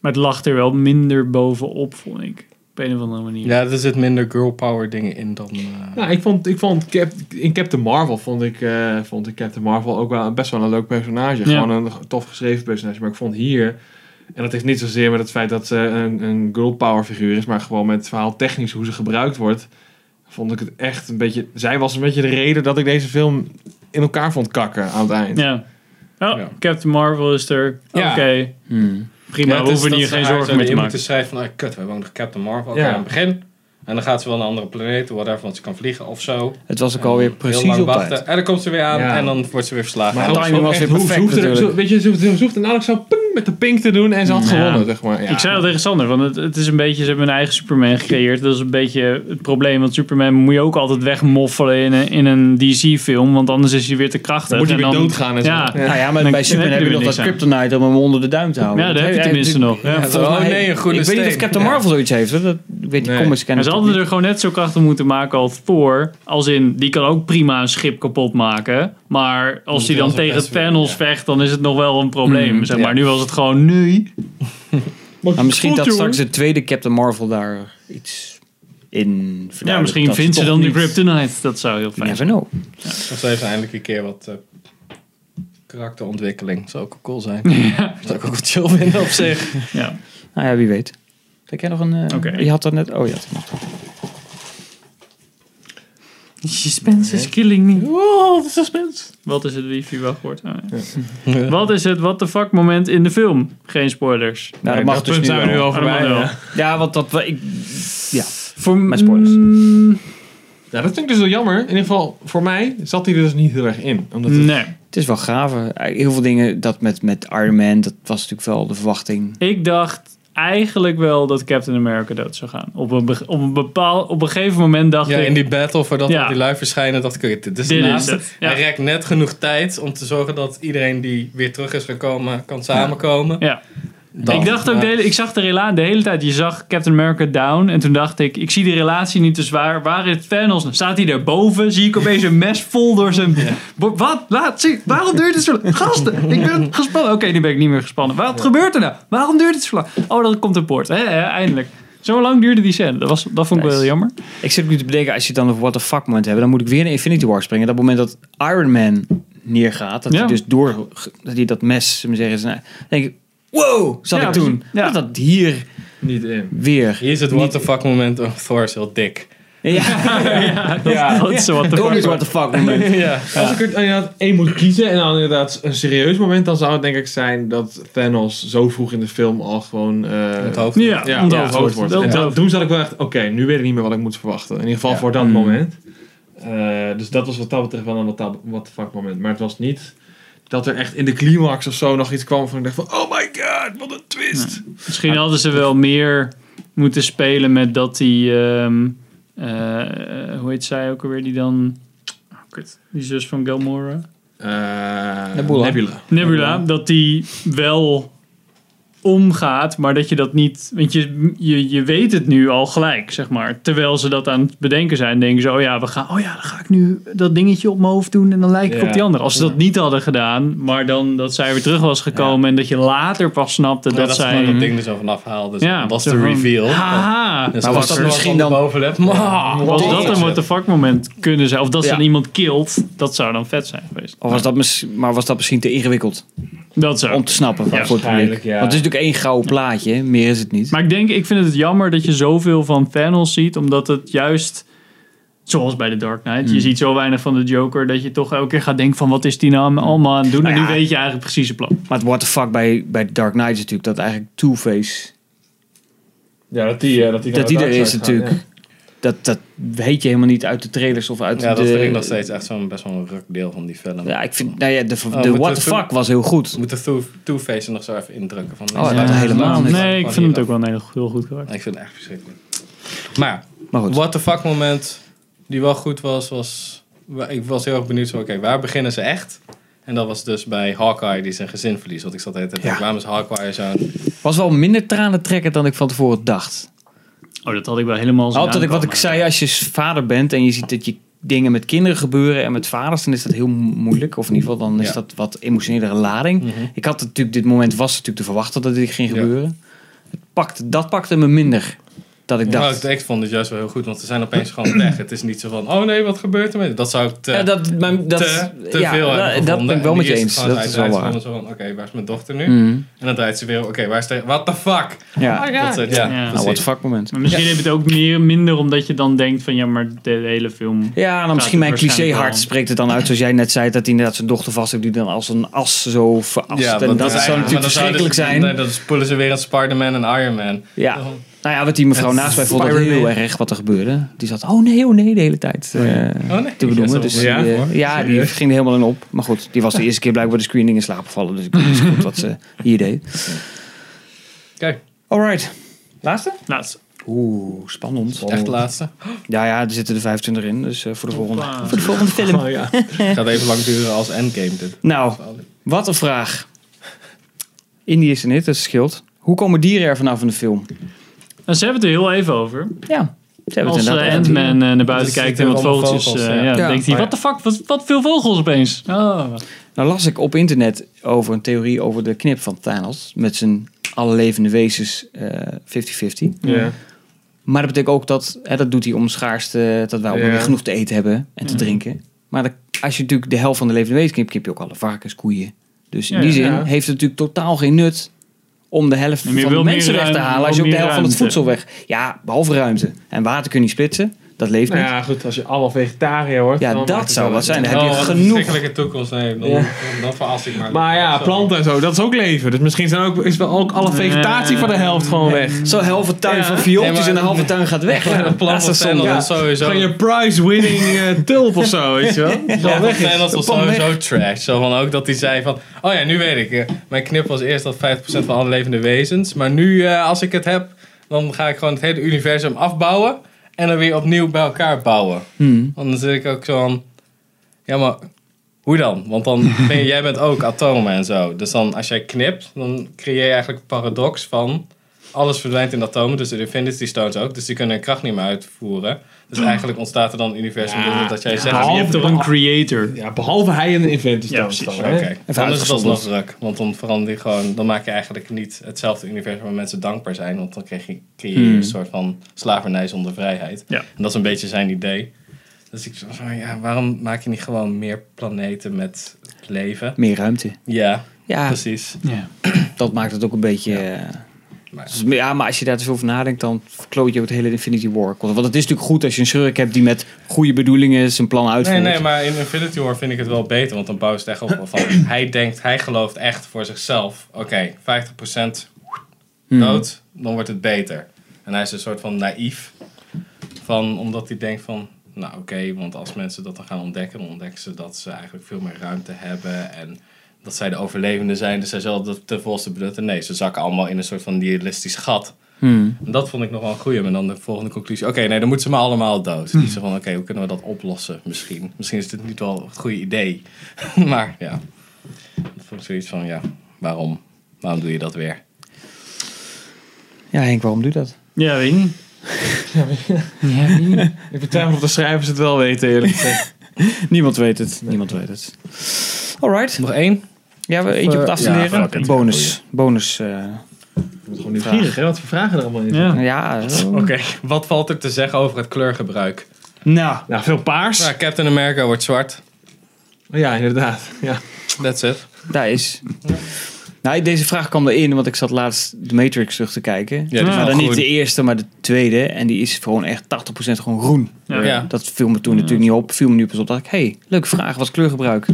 Speaker 2: Maar het lag er wel minder bovenop, vond ik. Op een of andere manier.
Speaker 4: Ja, er zit minder girl power dingen in dan... eh,
Speaker 3: Nou, ik vond, ik vond Cap, in Captain Marvel vond ik, eh, vond ik Captain Marvel ook wel best wel een leuk personage.
Speaker 2: Ja.
Speaker 3: Gewoon een tof geschreven personage. Maar ik vond hier, en dat heeft niet zozeer met het feit dat ze een, een girl power figuur is, maar gewoon met het verhaal technisch hoe ze gebruikt wordt, vond ik het echt een beetje. Zij was een beetje de reden dat ik deze film in elkaar vond kakken aan het eind.
Speaker 2: Ja. Oh,
Speaker 3: Ja.
Speaker 2: Captain Marvel is er.
Speaker 4: Ja.
Speaker 2: Oké.
Speaker 1: Hmm.
Speaker 2: Prima,
Speaker 4: Ja,
Speaker 2: we
Speaker 4: het is
Speaker 2: hoeven
Speaker 4: dat
Speaker 2: hier
Speaker 4: ze
Speaker 2: geen
Speaker 4: haar
Speaker 2: zorgen
Speaker 4: zo
Speaker 2: mee te
Speaker 4: in moeten
Speaker 2: maken.
Speaker 4: schrijven van, ah, kut, we hebben ook nog Captain Marvel. Oké,
Speaker 3: Ja.
Speaker 4: aan het begin. En dan gaat ze wel naar een andere planeet, whatever, want ze kan vliegen of zo.
Speaker 1: Het was ook alweer
Speaker 4: Heel
Speaker 1: precies
Speaker 4: lang
Speaker 1: op
Speaker 4: wachten.
Speaker 1: tijd.
Speaker 4: En dan komt ze weer aan
Speaker 3: Ja.
Speaker 4: en dan wordt ze weer verslagen.
Speaker 3: Maar
Speaker 4: En
Speaker 1: timing
Speaker 3: ook
Speaker 1: was
Speaker 3: echt,
Speaker 1: weer
Speaker 3: hoe-
Speaker 1: perfect
Speaker 3: Ze hoefde, er-
Speaker 1: natuurlijk.
Speaker 3: zo- weet je, ze hoefde, ze hoefde nauwelijks zo ping met de pink te doen en ze had
Speaker 2: Ja.
Speaker 3: gewonnen, zeg maar. Ja.
Speaker 2: Ik zei al tegen Sander, want het, het is een beetje, ze hebben hun eigen Superman gecreëerd. Dat is een beetje het probleem, want Superman moet je ook altijd wegmoffelen in een, in een DC-film, want anders is hij weer te krachtig.
Speaker 3: Dan moet hij
Speaker 2: En
Speaker 3: weer doodgaan en zo.
Speaker 2: Ja,
Speaker 1: Nou ja, maar
Speaker 2: Dan-
Speaker 1: bij Superman heb
Speaker 2: dan heb
Speaker 1: je nog
Speaker 2: je er
Speaker 1: dat
Speaker 2: niks aan.
Speaker 1: kryptonite om hem onder de duim te houden.
Speaker 2: Ja, dat heb je
Speaker 1: Hij-
Speaker 2: tenminste
Speaker 1: hij-
Speaker 2: nog. Ja.
Speaker 1: volgens
Speaker 4: Oh,
Speaker 1: mij-
Speaker 4: nee, een groene
Speaker 1: Ik weet niet of
Speaker 4: steen.
Speaker 1: Captain
Speaker 4: Ja.
Speaker 1: Marvel zoiets heeft. hoor. Dat ik weet die
Speaker 3: Nee.
Speaker 1: comics
Speaker 2: En
Speaker 1: kennen
Speaker 2: ze
Speaker 1: toch
Speaker 2: hadden
Speaker 1: niet.
Speaker 2: er gewoon net zo krachtig moeten maken als Thor. Als in, die kan ook prima een schip kapot maken. Maar als hij
Speaker 4: wel
Speaker 2: dan
Speaker 4: zijn
Speaker 2: tegen
Speaker 4: best
Speaker 2: het panels
Speaker 4: doen,
Speaker 2: vecht, dan is het nog wel een probleem.
Speaker 3: Mm,
Speaker 2: zeg maar,
Speaker 4: ja.
Speaker 2: nu was het gewoon nu.
Speaker 1: Maar misschien
Speaker 2: Goed,
Speaker 1: dat
Speaker 2: jongen.
Speaker 1: straks de tweede Captain Marvel daar iets in
Speaker 2: Ja,
Speaker 1: verduidelijkt.
Speaker 2: misschien
Speaker 1: Dat
Speaker 2: vindt ze
Speaker 1: toch
Speaker 2: dan die
Speaker 1: niet.
Speaker 2: kryptonite. Dat zou heel
Speaker 1: You
Speaker 2: fijn
Speaker 1: never
Speaker 2: zijn.
Speaker 1: know.
Speaker 4: Of ze heeft eindelijk een keer wat eh, karakterontwikkeling. Zou ook cool zijn. Zou ik ook wel chill vinden op zich.
Speaker 2: Ja.
Speaker 1: Nou ja, wie weet. Kijk jij nog een... eh,
Speaker 2: Oké.
Speaker 1: Je had dat net... Oh ja, dat mag.
Speaker 2: Suspense is killing me. Wat is het wifi wachtwoord? Oh, ja. Wat is het what the fuck moment in de film? Geen spoilers.
Speaker 1: Nou, dat mag dus nu wel.
Speaker 2: al
Speaker 3: voorbij, ja.
Speaker 1: Ja, want dat... we- Ik, ja.
Speaker 2: Voor
Speaker 1: Met spoilers.
Speaker 2: mm,
Speaker 3: Ja, dat vind ik dus wel jammer. In ieder geval, voor mij zat hij er dus niet heel erg in. Omdat het-
Speaker 2: nee.
Speaker 1: Het is wel graven. Heel veel dingen, dat met, met Iron Man, dat was natuurlijk wel de verwachting.
Speaker 2: Ik dacht eigenlijk wel dat Captain America dood zou gaan. Op een, be- op een, bepaal, op een gegeven moment dacht
Speaker 4: Ja,
Speaker 2: ik...
Speaker 4: in die battle voordat
Speaker 2: Ja.
Speaker 4: al die lui verschijnen, dacht ik, dit is de
Speaker 2: Dit is
Speaker 4: laatste.
Speaker 2: het, ja.
Speaker 4: Hij rekt net genoeg tijd om te zorgen dat iedereen die weer terug is gekomen, kan samenkomen.
Speaker 2: Ja.
Speaker 4: Dan,
Speaker 2: ik dacht ook,
Speaker 4: maar-
Speaker 2: de hele, ik zag de relatie de hele tijd. Je zag Captain America down. En toen dacht ik, ik zie die relatie niet te zwaar. Waar is Thanos? Nou, Staat hij daarboven? Zie ik opeens een mes vol door zijn... Bo- Wat? Laat zien. Waarom duurt het zo lang? Gasten, ik ben gespannen. Oké, nu ben ik niet meer gespannen. Wat gebeurt er nou? Waarom duurt het zo lang? Oh, dan komt een poort. Hè, hè, eindelijk. Zo lang duurde die scène. Dat, was, dat vond ik wel
Speaker 1: Nice.
Speaker 2: heel jammer.
Speaker 1: Ik zit nu te bedenken, als je het dan over what the fuck moment hebben, dan moet ik weer in Infinity War springen. Dat moment dat Iron Man neergaat, dat
Speaker 2: Ja.
Speaker 1: hij dus door, dat hij dat mes, zullen we zeggen, zijn- dan denk ik, wow, zat
Speaker 2: Ja,
Speaker 1: ik toen.
Speaker 2: precies. Ja.
Speaker 1: Dat dat hier
Speaker 3: niet in.
Speaker 1: weer.
Speaker 4: Hier is het what the fuck moment. Oh, Thor is heel dik.
Speaker 2: Eh,
Speaker 1: Ja,
Speaker 2: Ja, dat is zo wat de
Speaker 1: ook
Speaker 2: fuck.
Speaker 1: niet what the fuck moment.
Speaker 4: ja.
Speaker 3: Als ik er inderdaad één moet kiezen en dan inderdaad een serieus moment, dan zou het denk ik zijn dat Thanos zo vroeg in de film al gewoon eh,
Speaker 4: Het hoofd.
Speaker 2: Ja,
Speaker 3: ja,
Speaker 2: onthoofd
Speaker 3: onthoofd
Speaker 2: wordt.
Speaker 3: wordt.
Speaker 2: Ja.
Speaker 3: En dat- Toen zat ik wel echt, oké, nu weet ik niet meer wat ik moet verwachten. In ieder geval voor dat moment. Eh, dus dat was wat dat betreft wel een wat dat- what the fuck moment. Maar het was niet dat er echt in de climax of zo nog iets kwam van ik dacht van, oh my god, wat een twist.
Speaker 2: Misschien hadden ze wel meer moeten spelen met dat die. ehm, eh, hoe heet zij ook alweer? Die dan. oh, kut. Die zus van Gelmora.
Speaker 3: Eh,
Speaker 1: Nebula.
Speaker 2: Nebula. Dat die wel omgaat, maar dat je dat niet. Want je, je, je weet het nu al gelijk, zeg maar. Terwijl ze dat aan het bedenken zijn, denken ze: oh ja, we gaan, oh ja dan ga ik nu dat dingetje op mijn hoofd doen en dan lijk ik
Speaker 3: Ja.
Speaker 2: op die andere. Als ze dat niet hadden gedaan, maar dan dat zij weer terug was gekomen en dat je later pas snapte
Speaker 4: Ja,
Speaker 2: dat,
Speaker 4: dat is
Speaker 2: zij.
Speaker 4: gewoon dat ding er zo vanaf haalde. Dus
Speaker 2: Ja,
Speaker 4: dat was
Speaker 2: zo
Speaker 4: de
Speaker 2: van,
Speaker 4: reveal.
Speaker 2: Haha.
Speaker 4: Dus
Speaker 1: Maar
Speaker 4: als
Speaker 1: was dat
Speaker 4: Thor
Speaker 1: misschien
Speaker 4: van de
Speaker 1: dan-
Speaker 4: bovenlip? Maar-
Speaker 2: Was dat een what the fuck moment kunnen zijn? Of dat ze
Speaker 1: Ja.
Speaker 2: dan iemand kilt, dat zou dan vet zijn geweest.
Speaker 1: Of was dat mis- maar was dat misschien te ingewikkeld
Speaker 2: Dat zou.
Speaker 1: om te snappen voor het publiek?
Speaker 3: Waarschijnlijk, ja.
Speaker 1: Want het is natuurlijk één gouden plaatje, meer is het niet.
Speaker 2: Maar ik denk, ik vind het jammer dat je zoveel van Thanos ziet, omdat het juist, zoals bij The Dark Knight,
Speaker 1: Hmm.
Speaker 2: je ziet zo weinig van de Joker dat je toch elke keer gaat denken van wat is die nou allemaal aan het doen? En
Speaker 1: Nou
Speaker 2: nu
Speaker 1: ja.
Speaker 2: weet je eigenlijk precies het plan.
Speaker 1: Maar het what the fuck bij, bij Dark Knight is natuurlijk dat eigenlijk Two-Face,
Speaker 3: Ja, dat die, eh, dat die, naar
Speaker 1: dat
Speaker 3: de
Speaker 1: die er
Speaker 3: dark
Speaker 1: is
Speaker 3: side gaat,
Speaker 1: natuurlijk.
Speaker 3: ja.
Speaker 1: Dat, dat weet je helemaal niet uit de trailers of uit
Speaker 4: Ja,
Speaker 1: de...
Speaker 4: dat vind ik nog steeds echt zo'n best wel een ruk deel van die film.
Speaker 1: Ja, ik vind, nou ja, de, de,
Speaker 4: Oh, moet
Speaker 1: what
Speaker 4: het-
Speaker 1: the fuck was heel goed.
Speaker 4: We moeten Two- Two-Face er nog zo even indrukken. Van,
Speaker 1: Oh, dat helemaal niet. Oh,
Speaker 2: Nee, ik vind het ook wel een heel, heel goed karakter.
Speaker 4: Ik vind het echt verschrikkelijk. Maar ja,
Speaker 1: Maar goed.
Speaker 4: what the fuck moment die wel goed was, was... wa- Ik was heel erg benieuwd, zo, oké, waar beginnen ze echt? En dat was dus bij Hawkeye, die zijn gezin verliest. Want ik zat de hele tijd, te denken, waarom is Hawkeye zo'n...
Speaker 1: Was wel minder tranentrekkend dan ik van tevoren dacht.
Speaker 2: Oh, dat had ik wel helemaal zo.
Speaker 1: Altijd Nou, ik, wat ik zei, als je vader bent en je ziet dat je dingen met kinderen gebeuren en met vaders, dan is dat heel mo- moeilijk. Of in ieder geval, dan is
Speaker 4: Ja.
Speaker 1: dat wat emotionelere lading.
Speaker 2: Mhm.
Speaker 1: Ik had natuurlijk, dit moment was natuurlijk te verwachten dat dit ging
Speaker 4: Ja.
Speaker 1: gebeuren. Het pakte, dat pakte me minder dat ik
Speaker 4: Nou,
Speaker 1: dacht.
Speaker 4: ik, ik vond het juist wel heel goed, want ze zijn opeens gewoon weg. Het is niet zo van, oh nee, wat gebeurt er met... Dat zou ik te,
Speaker 1: Ja, dat, mijn, dat,
Speaker 4: eh, te, te
Speaker 1: ja,
Speaker 4: veel hebben
Speaker 1: dat,
Speaker 4: gevonden.
Speaker 1: dat ben ik
Speaker 4: En
Speaker 1: wel
Speaker 4: die
Speaker 1: met je
Speaker 4: is
Speaker 1: eens.
Speaker 4: gewoon-
Speaker 1: Dat
Speaker 4: hij
Speaker 1: is wel
Speaker 4: draait
Speaker 1: waar.
Speaker 4: gewoon zo van, oké, waar is mijn dochter nu?
Speaker 1: Mhm.
Speaker 4: En dan draait ze weer, oké, waar is de... What the fuck?
Speaker 1: Ja.
Speaker 4: Dat soort- ja,
Speaker 2: Oh, Ja.
Speaker 1: Nou,
Speaker 4: precies.
Speaker 1: wat vakmoment.
Speaker 2: Maar misschien heb je het ook meer, minder omdat je dan denkt van ja, maar de hele film.
Speaker 1: Ja, dan misschien
Speaker 2: het
Speaker 1: mijn cliché
Speaker 2: waarschijnlijk
Speaker 1: hart
Speaker 2: wel.
Speaker 1: spreekt het dan uit zoals jij net zei. Dat hij inderdaad zijn dochter vast heeft die dan als een as zo verast. en dat,
Speaker 4: is
Speaker 1: zou
Speaker 4: eigenlijk- maar
Speaker 1: natuurlijk
Speaker 4: dat
Speaker 1: verschrikkelijk
Speaker 4: dus-
Speaker 1: zijn.
Speaker 4: nee, dat is poelen ze weer een Spider-Man en Iron Man.
Speaker 1: Ja.
Speaker 4: Oh.
Speaker 1: Nou ja, wat die mevrouw
Speaker 4: Het
Speaker 1: naast mij vond dat
Speaker 4: Spider-Man.
Speaker 1: heel erg wat er gebeurde. Die zat, oh nee, oh nee, de hele tijd eh,
Speaker 4: Oh nee.
Speaker 1: te bedoemen.
Speaker 4: Ja,
Speaker 1: Dus
Speaker 4: zo-
Speaker 1: die,
Speaker 4: ja,
Speaker 1: eh,
Speaker 4: hoor.
Speaker 1: ja, die
Speaker 4: Serieus.
Speaker 1: ging er helemaal in op. Maar goed, die was de eerste keer blijkbaar de screening in slaap gevallen. Dus ik weet niet zo goed wat ze hier deed.
Speaker 4: Oké.
Speaker 1: Alright. Laatste?
Speaker 2: Laatst.
Speaker 1: Oeh, spannend.
Speaker 4: Echt de laatste.
Speaker 1: Ja, ja, er zitten er 25 in. Dus eh, voor, de volgende, voor de volgende film. Eh.
Speaker 4: Gaat even lang duren als Endgame dit.
Speaker 1: Nou, wat een vraag. Indie is er niet, dat scheelt. Hoe komen dieren er vanaf in de film?
Speaker 2: En Nou, ze hebben het er heel even over.
Speaker 1: Ja, ze hebben
Speaker 2: Als
Speaker 1: het
Speaker 2: eh,
Speaker 1: inderdaad over
Speaker 2: Ant-Man eh, naar buiten
Speaker 4: Dus
Speaker 2: kijkt
Speaker 4: zitten
Speaker 2: en wat
Speaker 4: allemaal
Speaker 2: vogeltjes.
Speaker 4: vogels,
Speaker 2: eh,
Speaker 4: ja.
Speaker 2: ja,
Speaker 1: Ja.
Speaker 2: denkt hij,
Speaker 4: Oh,
Speaker 2: wat de fuck, wat, wat veel vogels opeens. Oh.
Speaker 1: Nou las ik op internet over een theorie over de knip van Thanos. Met zijn alle levende wezens eh, 50-50.
Speaker 3: Ja.
Speaker 1: Maar dat betekent ook dat, hè, dat doet hij om schaarste, dat wij ook
Speaker 3: Ja.
Speaker 1: weer genoeg te eten hebben en te drinken. Maar dat- als je natuurlijk de helft van de levende wezens knipt, knip je ook alle varkens, koeien. Dus in
Speaker 2: Ja,
Speaker 1: die zin
Speaker 3: ja.
Speaker 1: heeft het natuurlijk totaal geen nut om de helft
Speaker 2: En
Speaker 1: van
Speaker 2: je
Speaker 1: de
Speaker 2: wil meer
Speaker 1: mensen weg te
Speaker 2: ruim-
Speaker 1: halen als
Speaker 2: wil
Speaker 1: je ook de
Speaker 2: meer
Speaker 1: helft van het
Speaker 2: ruimte.
Speaker 1: voedsel weg. Ja, behalve ruimte. En water kun je niet splitsen, dat leeft
Speaker 3: Nou
Speaker 1: niet.
Speaker 3: ja, goed, als je allemaal vegetariër wordt...
Speaker 1: Ja,
Speaker 3: dan
Speaker 1: dat
Speaker 3: maakt het
Speaker 1: zou
Speaker 3: wel
Speaker 1: wat
Speaker 3: uit.
Speaker 1: zijn. Dan heb
Speaker 4: Oh,
Speaker 1: je
Speaker 4: wat een
Speaker 1: genoeg.
Speaker 4: verschrikkelijke toekomst. Nee, dan,
Speaker 3: Ja.
Speaker 4: dan verras ik maar.
Speaker 3: Maar ja,
Speaker 4: Zo.
Speaker 3: planten en zo, dat is ook leven. Dus misschien zijn ook, is wel ook alle vegetatie van de helft gewoon weg.
Speaker 1: Zo'n halve tuin
Speaker 3: Ja.
Speaker 1: van viooltjes
Speaker 4: Nee, maar-
Speaker 1: en de halve tuin gaat weg.
Speaker 4: Ja, de
Speaker 1: Dat
Speaker 4: plan
Speaker 1: is
Speaker 4: van
Speaker 1: zonde.
Speaker 4: Thanos
Speaker 1: Ja.
Speaker 4: is sowieso...
Speaker 3: Van je prize-winning eh, tulp of zo, weet je wel? Die
Speaker 4: Ja,
Speaker 3: al weg is.
Speaker 4: Thanos was
Speaker 1: De pan
Speaker 4: sowieso trash. Zo van ook dat hij zei van... Oh ja, nu weet ik. eh, Mijn knip was eerst dat 50% van alle levende wezens. Maar nu, eh, als ik het heb... Dan ga ik gewoon het hele universum afbouwen. En dan weer opnieuw bij elkaar bouwen.
Speaker 3: Hmm.
Speaker 4: Want dan zit ik ook zo van... Ja, maar hoe dan? Want dan ben je- jij bent ook atomen en zo. Dus dan als jij knipt, dan creëer je eigenlijk een paradox van... Alles verdwijnt in atomen, dus de Infinity Stones ook. Dus die kunnen hun kracht niet meer uitvoeren. Dus eigenlijk ontstaat er dan een universum
Speaker 3: Ja.
Speaker 4: dat jij zegt...
Speaker 2: Ja, je hebt toch een creator.
Speaker 3: Ja, behalve hij en de Inventus
Speaker 2: Ja,
Speaker 3: ja,
Speaker 2: precies.
Speaker 3: dan.
Speaker 4: Oké,
Speaker 3: hè?
Speaker 4: dan is het alsnog
Speaker 1: uitgezonderd.
Speaker 4: druk. Want dan verander je gewoon... Dan maak je eigenlijk niet hetzelfde universum waar mensen dankbaar zijn. Want dan krijg je, creëer je een soort van slavernij zonder vrijheid.
Speaker 2: Ja.
Speaker 4: En dat is een beetje zijn idee. Dus ik dacht van, ja, waarom maak je niet gewoon meer planeten met leven?
Speaker 1: Meer ruimte.
Speaker 4: Ja,
Speaker 1: Ja,
Speaker 4: precies.
Speaker 2: Ja.
Speaker 1: dat maakt het ook een beetje... eh,
Speaker 4: Maar ja.
Speaker 1: Dus, maar ja, maar als je daar te veel over nadenkt, dan verkloot je ook het hele Infinity War. Want het is natuurlijk goed als je een schurk hebt die met goede bedoelingen zijn plan
Speaker 4: Nee,
Speaker 1: uitvoert.
Speaker 4: nee, maar in Infinity War vind ik het wel beter. Want dan bouwen ze het echt op van... hij denkt, hij gelooft echt voor zichzelf. Oké, 50% dood, dan wordt het beter. En hij is een soort van naïef. Van, omdat hij denkt van... Nou oké, want als mensen dat dan gaan ontdekken... dan ontdekken ze dat ze eigenlijk veel meer ruimte hebben. En dat zij de overlevenden zijn. Dus zij zullen dat ten volste benutten. Nee, ze zakken allemaal in een soort van nihilistisch gat. En dat vond ik nog wel een goeie. Maar dan de volgende conclusie. Oké, nee, dan moeten ze maar allemaal dood. Niet zo van, oké, hoe kunnen we dat oplossen misschien? Misschien is dit niet wel het goede idee. maar ja, dat vond ik zoiets van, ja, waarom? Waarom doe je dat weer?
Speaker 1: Ja, Henk, waarom doe je dat?
Speaker 2: Ja, weet ik niet.
Speaker 3: Ik betwijfel of de schrijvers het wel weten, eerlijk gezegd.
Speaker 1: Niemand weet het. Niemand weet het. Alright.
Speaker 4: Nog één?
Speaker 1: Ja, we eentje op het
Speaker 4: eh, ja,
Speaker 1: afstuderen.
Speaker 4: fuck it.
Speaker 1: bonus. Bonus. eh,
Speaker 3: Gewoon nieuwsgierig, hè? Wat voor vragen er allemaal in
Speaker 2: Ja.
Speaker 1: ja. eh,
Speaker 4: Oké, wat valt er te zeggen over het kleurgebruik?
Speaker 1: Nou,
Speaker 3: Nou, veel paars.
Speaker 4: Nou, Captain America wordt zwart.
Speaker 3: Ja, inderdaad. Ja.
Speaker 4: That's it.
Speaker 1: daar is. Nou, deze vraag kwam erin, want ik zat laatst de Matrix terug te kijken.
Speaker 4: Ja, die is
Speaker 1: maar
Speaker 4: wel
Speaker 1: dan niet
Speaker 4: groen.
Speaker 1: de eerste, maar de tweede. En die is gewoon echt 80% gewoon groen.
Speaker 2: Ja.
Speaker 4: Ja.
Speaker 3: Ah.
Speaker 1: Dat viel me toen natuurlijk niet op. Viel me nu pas op. Dacht ik, hey, leuke vraag. Wat is kleurgebruik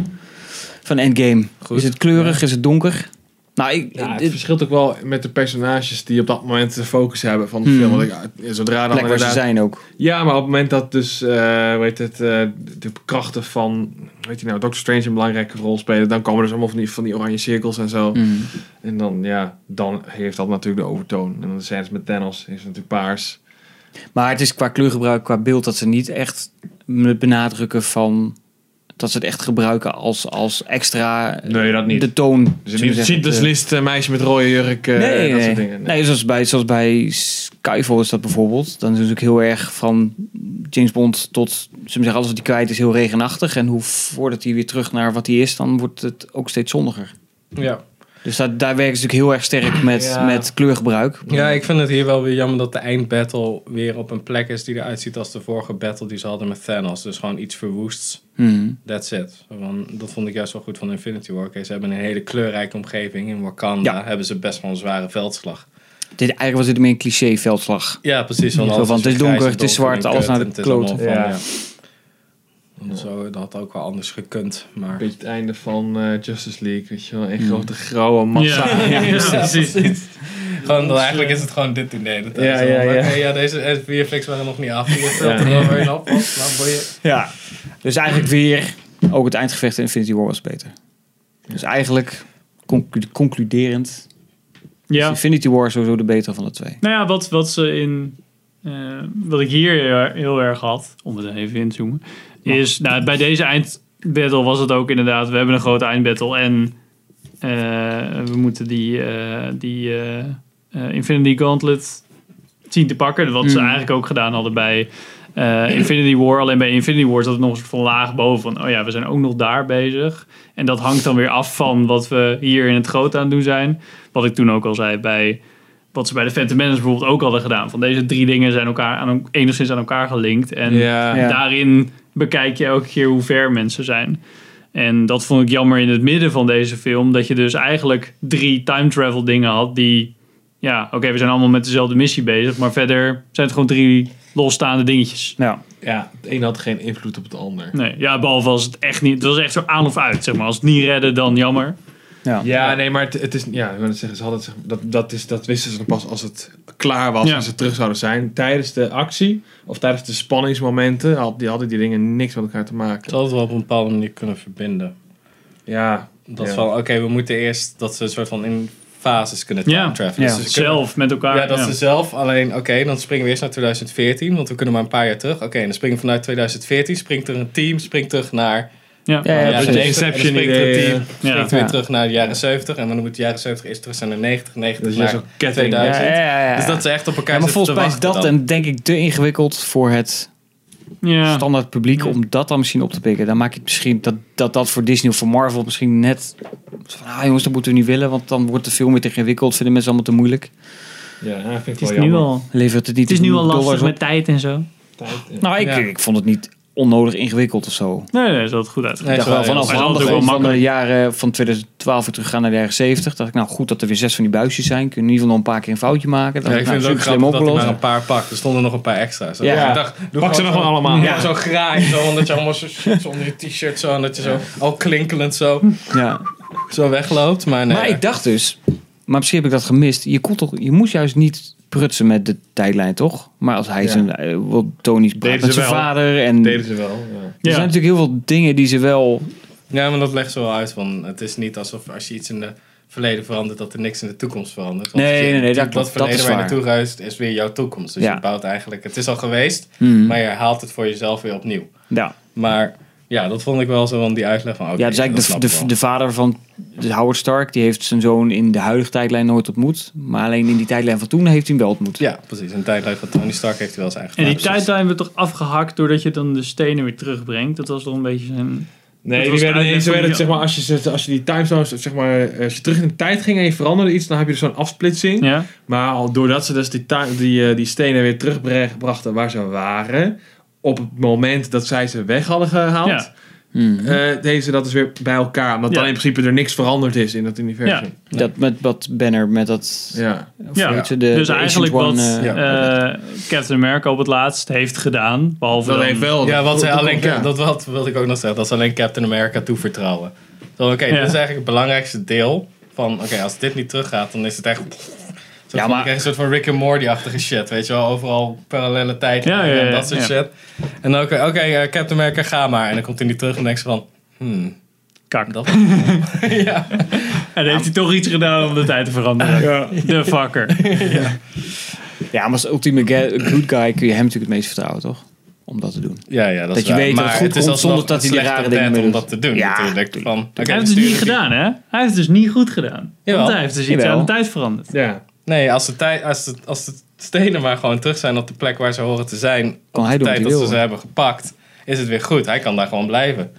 Speaker 1: van Endgame?
Speaker 4: Goed.
Speaker 1: Is het kleurig? Is het donker? Nou, ik,
Speaker 3: Ja,
Speaker 1: ik-
Speaker 3: het verschilt ook wel met de personages die op dat moment de focus hebben van de
Speaker 1: Hmm.
Speaker 3: film. Want ik, ja, zodra dan
Speaker 1: plek waar ze
Speaker 3: inderdaad...
Speaker 1: zijn ook.
Speaker 3: Ja, maar op het moment dat dus, eh weet het, eh, de krachten van, weet je nou, Doctor Strange een belangrijke rol spelen, dan komen er dus allemaal van die, van die oranje cirkels en
Speaker 1: Hmm.
Speaker 3: zo. En dan, ja, dan heeft dat natuurlijk de overtoon. En dan zijn ze met Thanos, is het natuurlijk paars.
Speaker 1: Maar het is qua kleurgebruik, qua beeld, dat ze niet echt het benadrukken van dat ze het echt gebruiken als, als extra eh,
Speaker 3: Nee, dat niet.
Speaker 1: de toon.
Speaker 3: Dus niet ziet dus list eh, meisje met rode jurk eh,
Speaker 1: nee,
Speaker 3: en dat soort
Speaker 1: nee.
Speaker 3: dingen.
Speaker 1: Nee, zoals bij, zoals bij Skyfall is dat bijvoorbeeld. Dan is het natuurlijk heel erg van James Bond tot, zullen we zeggen, alles wat hij kwijt is heel regenachtig. En hoe voordat hij weer terug naar wat hij is, dan wordt het ook steeds zonniger.
Speaker 4: Ja.
Speaker 1: Dus dat, daar werken ze natuurlijk heel erg sterk met,
Speaker 4: Ja.
Speaker 1: met kleurgebruik.
Speaker 4: ja, ik vind het hier wel weer jammer dat de eindbattle weer op een plek is die eruit ziet als de vorige battle die ze hadden met Thanos. Dus gewoon iets verwoests.
Speaker 1: Mhm.
Speaker 4: That's it. Want dat vond ik juist wel goed van Infinity War. Oké, ze hebben een hele kleurrijke omgeving. In Wakanda
Speaker 1: Ja.
Speaker 4: hebben ze best wel een zware veldslag.
Speaker 1: Dit, eigenlijk was dit meer een cliché veldslag.
Speaker 4: Ja, precies.
Speaker 1: Zo
Speaker 4: alles
Speaker 1: van, het is
Speaker 4: grijs en
Speaker 1: donker, het is
Speaker 4: donker en
Speaker 1: zwart, alles
Speaker 4: kut
Speaker 1: naar de
Speaker 4: en het is
Speaker 1: kloten.
Speaker 4: allemaal
Speaker 3: Ja.
Speaker 4: En Zo, dat had ook wel anders gekund. Maar
Speaker 3: Beetje het einde van eh, Justice League, weet je wel.
Speaker 1: Hmm.
Speaker 3: Een grote grauwe massa.
Speaker 2: Ja, precies.
Speaker 4: gewoon, dan eigenlijk
Speaker 1: eh.
Speaker 4: is het gewoon dit toen nee, dat
Speaker 3: Ja,
Speaker 4: is wel-
Speaker 3: ja, ja.
Speaker 4: Oké, ja, deze VFX waren nog niet af. Je vult er overheen op. op, maar boeien.
Speaker 1: Ja. Dus eigenlijk weer, ook het eindgevecht in Infinity War was beter. Dus eigenlijk, conclu- concluderend, is
Speaker 2: Ja.
Speaker 1: Infinity War sowieso de betere van de twee.
Speaker 2: Nou ja, wat, wat ze in. eh, wat ik hier heel, heel erg had, om het even in te zoomen, is. Nou, bij deze eindbattle was het ook inderdaad. We hebben een grote eindbattle en. eh, we moeten die. eh, die eh, eh, Infinity Gauntlet zien te pakken. Wat ze
Speaker 1: Mm.
Speaker 2: eigenlijk ook gedaan hadden bij. eh, Infinity War, alleen bij Infinity War zat het nog een soort van laag boven van, oh ja, we zijn ook nog daar bezig. En dat hangt dan weer af van wat we hier in het groot aan het doen zijn. Wat ik toen ook al zei bij wat ze bij de Phantom Menace bijvoorbeeld ook hadden gedaan. Van deze drie dingen zijn elkaar aan, enigszins aan elkaar gelinkt. En
Speaker 3: Ja.
Speaker 1: Ja.
Speaker 2: daarin bekijk je elke keer hoe ver mensen zijn. En dat vond ik jammer in het midden van deze film. Dat je dus eigenlijk drie time travel dingen had die... Ja, oké, we zijn allemaal met dezelfde missie bezig. Maar verder zijn het gewoon drie losstaande dingetjes.
Speaker 1: Ja.
Speaker 3: Ja, het een had geen invloed op het ander.
Speaker 2: Nee, ja, behalve als het echt niet... Het was echt zo aan of uit, zeg maar. Als het niet redden, dan jammer.
Speaker 1: Ja.
Speaker 3: Ja, nee, maar het, het is. Ja, ik wil net zeggen, ze hadden het, zeg- dat, dat, is, dat wisten ze dan pas als het klaar was
Speaker 2: Ja.
Speaker 3: en ze terug zouden zijn. Tijdens de actie of tijdens de spanningsmomenten had, die, hadden die dingen niks met elkaar te
Speaker 4: Ze
Speaker 3: maken.
Speaker 4: hadden het wel op een bepaalde manier kunnen verbinden.
Speaker 3: Ja,
Speaker 4: Dat
Speaker 3: Ja.
Speaker 4: van, oké, we moeten eerst dat ze een soort van in fases kunnen
Speaker 2: Ja.
Speaker 4: time travelen.
Speaker 1: Ja.
Speaker 4: Dus ze kunnen-
Speaker 2: Zelf, met elkaar.
Speaker 4: Ja, dat ze zelf. Alleen, oké, dan springen we eerst naar 2014, want we kunnen maar een paar jaar terug. Oké, en dan springen we vanuit 2014, springt er een team, springt terug naar...
Speaker 2: Ja.
Speaker 1: Ja, ja, precies.
Speaker 4: de
Speaker 3: dat
Speaker 4: negentig, en dan
Speaker 3: Inception
Speaker 4: springt er een
Speaker 3: idee,
Speaker 4: team,
Speaker 3: eh.
Speaker 4: Springt
Speaker 2: Ja.
Speaker 4: weer
Speaker 1: Ja.
Speaker 4: terug naar de jaren 70 en dan moet de jaren 70 eerst terug zijn naar 90, 90
Speaker 3: Dus je
Speaker 4: naar
Speaker 3: zo'n ketting.
Speaker 4: 2000.
Speaker 1: Ja, ja, ja.
Speaker 4: Dus dat ze echt op elkaar
Speaker 1: Ja, maar
Speaker 4: zitten te
Speaker 1: volgens mij is dat
Speaker 4: wachten
Speaker 1: dan denk ik te ingewikkeld voor het
Speaker 2: Ja.
Speaker 1: standaard publiek om dat dan misschien op te pikken. Dan maak je het misschien dat dat, dat voor Disney of voor Marvel misschien net zo van ah jongens, dat moeten we niet willen, want dan wordt de film weer te ingewikkeld, vinden mensen allemaal te moeilijk.
Speaker 3: ja dat vind ik
Speaker 2: Het
Speaker 3: wel
Speaker 2: is nu
Speaker 3: jammer.
Speaker 2: al...
Speaker 1: Levert het niet
Speaker 2: Het is nu al
Speaker 1: dollars
Speaker 2: lastig
Speaker 1: op?
Speaker 2: met tijd en zo.
Speaker 1: Nou, ik,
Speaker 4: Ja.
Speaker 1: ik vond het niet onnodig ingewikkeld of zo.
Speaker 2: Nee, nee, is dat goed uit.
Speaker 4: Nee,
Speaker 1: Ik dacht wel vanaf
Speaker 2: Maar het is
Speaker 1: handig
Speaker 2: altijd wel
Speaker 1: van de jaren van 2012 weer teruggaan naar de jaren 70. Dacht ik, nou goed dat er weer zes van die buisjes zijn. Kun je in ieder geval nog een paar keer een foutje maken. nou, Dat
Speaker 4: Ja, ik vind het ook grappig dat hij maar een paar pakt. Er stonden nog een paar extra's.
Speaker 1: Ja.
Speaker 4: Dus ik dacht, doe
Speaker 3: Pak ze nog
Speaker 4: gewoon
Speaker 3: wel
Speaker 4: zo-
Speaker 3: allemaal.
Speaker 4: Ja, zo graai, zo, omdat je allemaal zo, zo onder je t-shirt zo, en dat je zo al klinkelend zo,
Speaker 1: Ja.
Speaker 4: zo wegloopt. Maar, nee,
Speaker 1: Maar ik dacht dus, maar misschien heb ik dat gemist. Je, kon toch, je moest juist niet prutsen met de tijdlijn, toch? Maar als hij zijn, eh, wil Tony praat
Speaker 3: Deden
Speaker 1: met
Speaker 3: ze
Speaker 1: zijn
Speaker 3: wel.
Speaker 1: vader. En
Speaker 3: Deden ze wel. Ja.
Speaker 1: Er
Speaker 2: Ja.
Speaker 1: zijn natuurlijk heel veel dingen die ze wel...
Speaker 4: Ja, maar dat legt ze wel uit. Van, het is niet alsof als je iets in het verleden verandert, dat er niks in de toekomst verandert. Want
Speaker 1: Nee,
Speaker 4: als je
Speaker 1: nee, nee, dat klopt.
Speaker 4: dat
Speaker 1: Dat
Speaker 4: verleden
Speaker 1: is
Speaker 4: waar je
Speaker 1: waar.
Speaker 4: naartoe reist, is weer jouw toekomst. Dus
Speaker 1: Ja.
Speaker 4: je bouwt eigenlijk, het is al geweest,
Speaker 1: Hmm.
Speaker 4: maar je haalt het voor jezelf weer opnieuw.
Speaker 1: nou, Ja,
Speaker 4: Maar ja, dat vond ik wel zo van die uitleg van. oké,
Speaker 1: ja dus
Speaker 4: dat
Speaker 1: eigenlijk de,
Speaker 4: snap ik
Speaker 1: de,
Speaker 4: wel.
Speaker 1: de vader van Howard Stark... die heeft zijn zoon in de huidige tijdlijn nooit ontmoet. Maar alleen in die tijdlijn van toen heeft hij hem wel ontmoet.
Speaker 4: Ja, precies. En de tijdlijn van Tony Stark heeft hij wel zijn eigen
Speaker 2: En die
Speaker 4: vader.
Speaker 2: tijdlijn werd toch afgehakt doordat je dan de stenen weer terugbrengt. Dat was toch een beetje zijn...
Speaker 3: Nee,
Speaker 2: Dat
Speaker 3: die
Speaker 2: was
Speaker 3: werden,
Speaker 2: de
Speaker 3: nee, zo
Speaker 2: uitleg
Speaker 3: werd het,
Speaker 2: van
Speaker 3: zeg maar, als je, zet- als je die timestones, zeg maar, eh, als je terug in de tijd ging en je veranderde iets, dan heb je dus zo'n afsplitsing.
Speaker 2: Ja?
Speaker 3: Maar al doordat ze dus die, ta- die, eh, die stenen weer terugbrachten waar ze waren, op het moment dat zij ze weg hadden gehaald,
Speaker 2: Ja.
Speaker 1: Hmm.
Speaker 4: Mhm.
Speaker 3: eh, deden ze dat dus weer bij elkaar. Omdat
Speaker 2: Ja.
Speaker 3: dan in principe er niks veranderd is in dat universum.
Speaker 1: Dat met wat Banner, met dat...
Speaker 3: Ja.
Speaker 1: of
Speaker 2: Ja.
Speaker 1: weet je, de-
Speaker 2: dus
Speaker 1: de Agent
Speaker 2: eigenlijk wat
Speaker 1: One, eh,
Speaker 2: eh, Captain America op het laatst heeft gedaan. Behalve
Speaker 3: Dat
Speaker 2: dan-
Speaker 3: heeft
Speaker 1: Oh,
Speaker 3: wel.
Speaker 4: Ja, wat zij
Speaker 3: dat-
Speaker 4: alleen,
Speaker 3: ja.
Speaker 4: dat wat, wilde ik ook nog zeggen, dat ze alleen Captain America toevertrouwen. Zo, Oké, dit
Speaker 2: Ja.
Speaker 4: is eigenlijk het belangrijkste deel van, oké, als dit niet teruggaat, dan is het echt... Zo
Speaker 1: Ja,
Speaker 4: ja,
Speaker 1: maar-
Speaker 4: maar... Een soort van Rick and Morty-achtige shit, weet je wel, overal parallele tijd
Speaker 2: Ja, ja, ja,
Speaker 4: en dat soort
Speaker 2: ja.
Speaker 4: shit. En dan oké, oké, eh, Captain America, ga maar. En dan komt hij niet terug en denkt ze van, hmm,
Speaker 2: Kak.
Speaker 4: dat...
Speaker 2: En heeft hij toch iets gedaan om de tijd te veranderen. De fucker.
Speaker 1: Ja, maar als ultieme ga- good guy kun je hem natuurlijk het meest vertrouwen, toch? om dat te doen.
Speaker 4: Ja, ja, dat, is
Speaker 1: je
Speaker 4: waar.
Speaker 1: weet dat
Speaker 4: maar
Speaker 1: het goed komt
Speaker 4: alsnog
Speaker 1: zonder dat hij die
Speaker 4: een slechte
Speaker 1: rare dingen
Speaker 4: bed
Speaker 1: mee
Speaker 4: om
Speaker 1: doet.
Speaker 4: dat te doen,
Speaker 1: Ja,
Speaker 4: natuurlijk.
Speaker 1: tuurlijk.
Speaker 4: Van, oké,
Speaker 2: hij
Speaker 4: we
Speaker 2: heeft het dus niet
Speaker 4: sturen die-
Speaker 2: gedaan, hè? Hij heeft het dus niet goed gedaan.
Speaker 4: Jawel.
Speaker 2: Want hij heeft dus iets
Speaker 1: Jawel.
Speaker 2: aan de tijd veranderd.
Speaker 4: Ja. Nee, als de, tij- als, de, als de stenen maar gewoon terug zijn op de plek waar ze horen te zijn, op
Speaker 1: hij doen wat
Speaker 4: de tijd
Speaker 1: hij
Speaker 4: dat ze
Speaker 1: wil.
Speaker 4: ze hebben gepakt, is het weer goed. Hij kan daar gewoon blijven.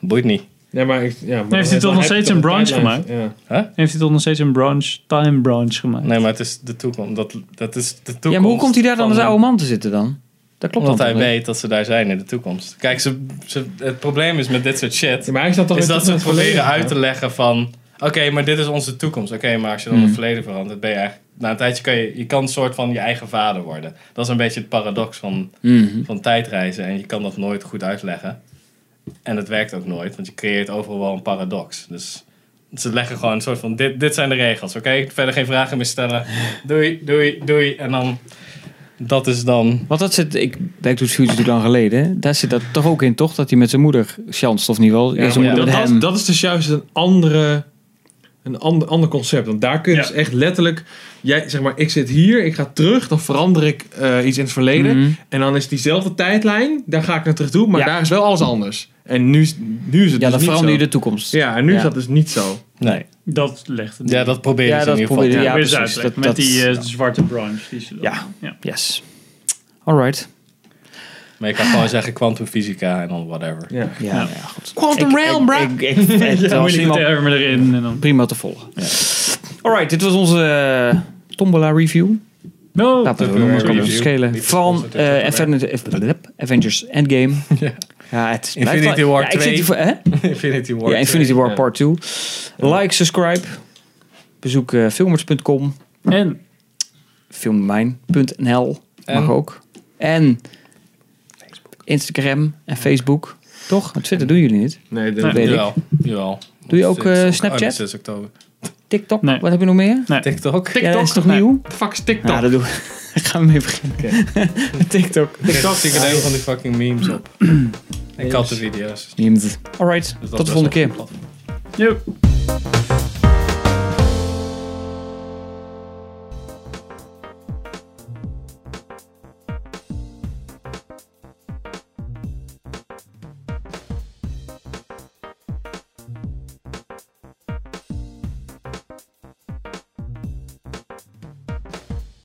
Speaker 4: Boeit niet.
Speaker 3: Ja, maar ik, ja, maar dan
Speaker 2: hij
Speaker 3: dan
Speaker 2: toch
Speaker 3: heb
Speaker 2: nog
Speaker 3: je
Speaker 2: steeds
Speaker 3: toch
Speaker 2: een branch
Speaker 3: timeline.
Speaker 2: gemaakt?
Speaker 3: Ja.
Speaker 2: Heeft hij toch nog steeds een branch, time branch gemaakt?
Speaker 4: Nee, maar het is de toekomst. Dat, dat is de toekomst.
Speaker 1: Ja, maar hoe komt hij daar dan
Speaker 4: van
Speaker 1: als
Speaker 4: hem.
Speaker 1: oude man te zitten dan? Dat klopt
Speaker 4: Omdat
Speaker 1: dan
Speaker 4: hij
Speaker 1: toch niet?
Speaker 4: weet dat ze daar zijn in de toekomst. Kijk, ze, ze, het probleem is met dit soort shit.
Speaker 3: Ja, maar hij staat toch
Speaker 4: is
Speaker 3: weer
Speaker 4: dat ze
Speaker 3: terug
Speaker 4: het
Speaker 3: in het
Speaker 4: proberen
Speaker 3: verleden,
Speaker 4: uit te leggen van... Oké, maar dit is onze toekomst. Oké, maar als je dan
Speaker 1: Mhm.
Speaker 4: het verleden verandert, ben je eigenlijk... Na een tijdje kan je... Je kan een soort van je eigen vader worden. Dat is een beetje het paradox van, van tijdreizen. En je kan dat nooit goed uitleggen. En het werkt ook nooit, want je creëert overal wel een paradox. Dus ze leggen gewoon een soort van... Dit, dit zijn de regels, oké? Verder geen vragen meer stellen. Doei, doei, doei. En dan... Dat is dan...
Speaker 1: Want dat zit, ik Back to the Future is natuurlijk lang geleden. hè? Daar zit dat toch ook in, toch? Dat hij met zijn moeder chanst, of niet wel? Ja, zijn
Speaker 4: maar ja,
Speaker 1: moeder
Speaker 3: Dat,
Speaker 1: met hem.
Speaker 3: dat, dat is dus juist een, andere, een ander, ander concept. Want daar kun je
Speaker 2: Ja.
Speaker 3: dus echt letterlijk... Jij, zeg maar, ik zit hier, ik ga terug, dan verander ik eh, iets in het verleden.
Speaker 1: Mhm.
Speaker 3: En dan is diezelfde tijdlijn, daar ga ik naar terug toe. Maar
Speaker 1: Ja.
Speaker 3: daar is wel alles anders. En nu, is- nu is het
Speaker 1: Ja,
Speaker 3: dus
Speaker 1: dan
Speaker 3: niet
Speaker 1: verander je
Speaker 3: zo.
Speaker 1: de toekomst.
Speaker 3: Ja, en nu is
Speaker 1: Ja.
Speaker 3: dat dus niet zo.
Speaker 4: Nee.
Speaker 2: Dat legt het.
Speaker 4: Ja, dat proberen
Speaker 1: Ja,
Speaker 4: ze
Speaker 1: dat
Speaker 4: in ieder
Speaker 1: proberen-
Speaker 4: geval.
Speaker 2: Weer
Speaker 1: ja,
Speaker 2: eens
Speaker 1: precies.
Speaker 2: uitleggen
Speaker 1: Dat-
Speaker 2: met
Speaker 1: dat-
Speaker 2: die eh, zwarte branch. Die ze dan-
Speaker 1: Ja.
Speaker 2: ja.
Speaker 1: Yes. Alright.
Speaker 4: Maar je kan gewoon zeggen kwantumfysica en dan whatever.
Speaker 3: Ja.
Speaker 1: Ja, Nou ja. goed.
Speaker 3: Quantum
Speaker 1: Ik-
Speaker 3: Realm,
Speaker 1: ik-
Speaker 3: bruh.
Speaker 1: Ik, ik, het was
Speaker 2: moeilijke
Speaker 1: iemand
Speaker 2: termen erin. En dan...
Speaker 1: prima te volgen. Alright, dit was onze eh, Tombola review.
Speaker 3: Oh,
Speaker 2: No,
Speaker 1: Laten we
Speaker 4: Tombola
Speaker 1: ons kan het
Speaker 4: review.
Speaker 1: schelen.
Speaker 4: Niet
Speaker 1: Van
Speaker 4: gesponsord,
Speaker 1: eh,
Speaker 4: dit is
Speaker 1: Aven- eh, Avengers Endgame.
Speaker 4: Ja.
Speaker 1: Ja, het blijft
Speaker 4: Infinity
Speaker 1: wel-
Speaker 4: War
Speaker 1: Ja, ik zit
Speaker 4: 2.
Speaker 1: hier voor- hè?
Speaker 4: Infinity War.
Speaker 1: Ja, Infinity War
Speaker 3: ja.
Speaker 1: Part 2. Like, subscribe. Bezoek eh, filmers.com.
Speaker 2: en
Speaker 1: filmmijn.nl mag
Speaker 4: En?
Speaker 1: ook. En Instagram en Facebook. Toch? Want Twitter doen jullie niet.
Speaker 3: Nee,
Speaker 2: Nee.
Speaker 1: weet ik.
Speaker 4: Jawel, jawel.
Speaker 1: Doe je ook,
Speaker 4: Sinds-
Speaker 1: eh,
Speaker 4: oh,
Speaker 1: Snapchat?
Speaker 4: nee, sinds oktober.
Speaker 1: TikTok,
Speaker 2: Nee.
Speaker 1: wat heb je nog meer?
Speaker 4: TikTok.
Speaker 1: ja, dat is toch
Speaker 2: Nee.
Speaker 1: nieuw?
Speaker 3: Fuck is TikTok.
Speaker 1: Ja, dat doen we. Daar gaan we mee beginnen. TikTok.
Speaker 4: TikTok. Ik een van die fucking memes op. en kattenvideo's.
Speaker 1: Alright,
Speaker 4: Dus dat
Speaker 1: tot de volgende
Speaker 4: is wel
Speaker 1: keer.
Speaker 4: een platform.
Speaker 2: Joep.